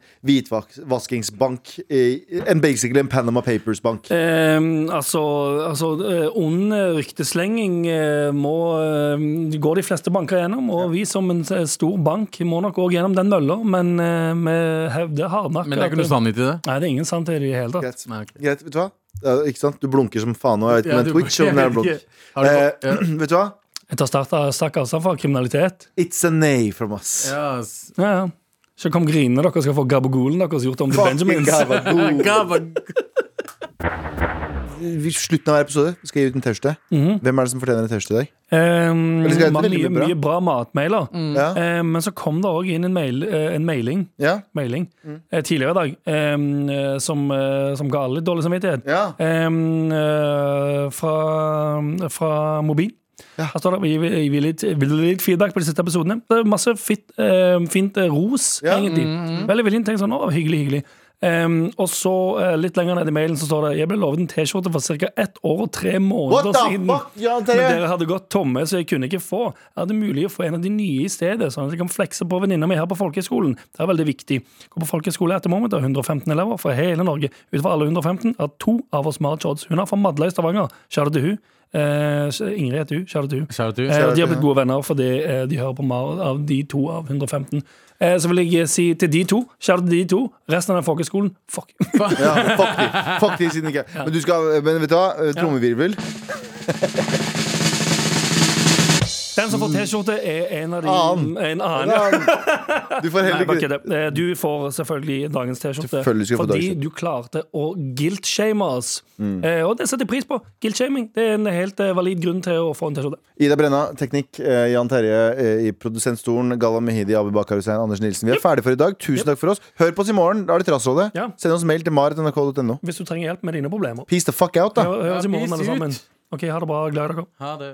Speaker 2: hvitvaskingsbank. i- En basically en Panama Papers-bank.
Speaker 3: Eh, altså, altså eh, ond eh, rykteslenging eh, må, eh, går de fleste banker gjennom, og vi som en eh, stor bank må nok òg gjennom den mølla, men eh, vi hevder hardnakka
Speaker 4: Men det er ikke noe sannhet i det.
Speaker 3: Nei, det er ingen sannhet i det i hele tatt.
Speaker 2: Greit. Greit, vet du hva? Ja, ikke sant? Du blunker som faen nå. Jeg vet ikke
Speaker 4: Ja,
Speaker 2: om det
Speaker 4: du-
Speaker 2: er Twitch eller om det er en
Speaker 4: jeg vet
Speaker 2: blunk.
Speaker 4: ikke. [laughs] Har du fått-
Speaker 2: Eh, [clears throat] vet du hva?
Speaker 3: Jeg tar starta, stakk avstand fra kriminalitet.
Speaker 2: It's a nay from us.
Speaker 4: Ja, ass.
Speaker 3: Ja, ja. Så kom grinene dere skal få gabagolen deres gjort om til
Speaker 4: [laughs]
Speaker 2: Fucking
Speaker 3: Benjamins.
Speaker 2: Gabagool.
Speaker 4: Gabagool.
Speaker 2: vi- slutten av hver episode skal jeg gi ut en T-skjorte.
Speaker 3: Mhm.
Speaker 2: Hvem er det som fortjener en T-skjorte i dag?
Speaker 3: Um,
Speaker 2: Eller skal jeg hete
Speaker 3: mye,
Speaker 2: veldig bra? Mm.
Speaker 3: mye bra matmailer.
Speaker 4: Mm.
Speaker 2: Ja.
Speaker 3: Eh, men så kom det òg inn en, mail, eh, en mailing,
Speaker 2: Ja.
Speaker 3: mailing
Speaker 2: Mm.
Speaker 3: eh, tidligere i dag em, eh, som, eh, som ga alle litt dårlig samvittighet.
Speaker 2: Ja.
Speaker 3: Em, eh, fra, fra mobil.
Speaker 2: Ja.
Speaker 3: Her står det vi, vi vil litt, vil litt feedback på de siste episodene. Det er masse fitt, eh, fint eh, ros,
Speaker 2: Ja.
Speaker 3: egentlig. Veldig veldig tenkt sånn, å, hyggelig, hyggelig. Em, og så eh, Litt lenger ned i mailen så står det Jeg ble lovet en T-skjorte for ca. ett år og tre
Speaker 2: What
Speaker 3: måneder
Speaker 2: the
Speaker 3: siden.
Speaker 2: fuck, Jan
Speaker 3: Men
Speaker 2: Terje?
Speaker 3: dere hadde gått tomme, så jeg kunne ikke få. Er det mulig å få en av de nye i stedet, sånn at jeg kan flekse på venninna mi her på folkehøyskolen? Det er veldig viktig. Går på folkehøyskole etter moment, har 115 elever fra hele Norge. Utover alle 115 er to av oss Marit Odds. Hun er fra Madla i Stavanger. Kjære til hun. Eh, Ingrid heter hun. Kjære til hun.
Speaker 4: Shout out to you.
Speaker 3: Eh, og de har blitt gode venner fordi eh, de hører på Mar av de to av 115. Eh, så vil jeg si til de to, kjære til de to, resten av den folkehøyskolen, fuck. [laughs]
Speaker 2: Ja, fuck de. Fuck de siden ikke. Men, du skal, men vet du hva? Eh, Trommevirvel.
Speaker 3: Den som får T-skjorte, er en av de
Speaker 2: Annen.
Speaker 3: En annen, [laughs] ja.
Speaker 2: Du får
Speaker 3: Nei,
Speaker 2: heller
Speaker 3: bare
Speaker 2: ikke
Speaker 3: kødder. Eh, Du får selvfølgelig dagens T-skjorte.
Speaker 2: Selvfølgelig skal jeg få
Speaker 3: Fordi
Speaker 2: dagens. Mm.
Speaker 3: du klarte å guilt-shame oss. Eh, Og det setter jeg pris på. Guilt-shaming det er en helt eh, valid grunn til å få en T-skjorte.
Speaker 2: Ida Brenna, teknikk. eh, Jan Terje eh, i produsentstolen. Galla Mehidi, Abu Bakar Hussein, Anders Nilsen. Vi er ferdige for i dag. Tusen takk for oss. Hør på oss i morgen. Da er det Trassrådet.
Speaker 3: Ja.
Speaker 2: Send oss mail til marit.nrk.no.
Speaker 3: Hvis du trenger hjelp med dine problemer.
Speaker 2: Peace the fuck out, da.
Speaker 3: Hø- Høres i morgen,
Speaker 4: peace
Speaker 3: alle sammen.
Speaker 4: ut.
Speaker 3: Ok, Ha det bra. Glad i dere.
Speaker 4: Ha det.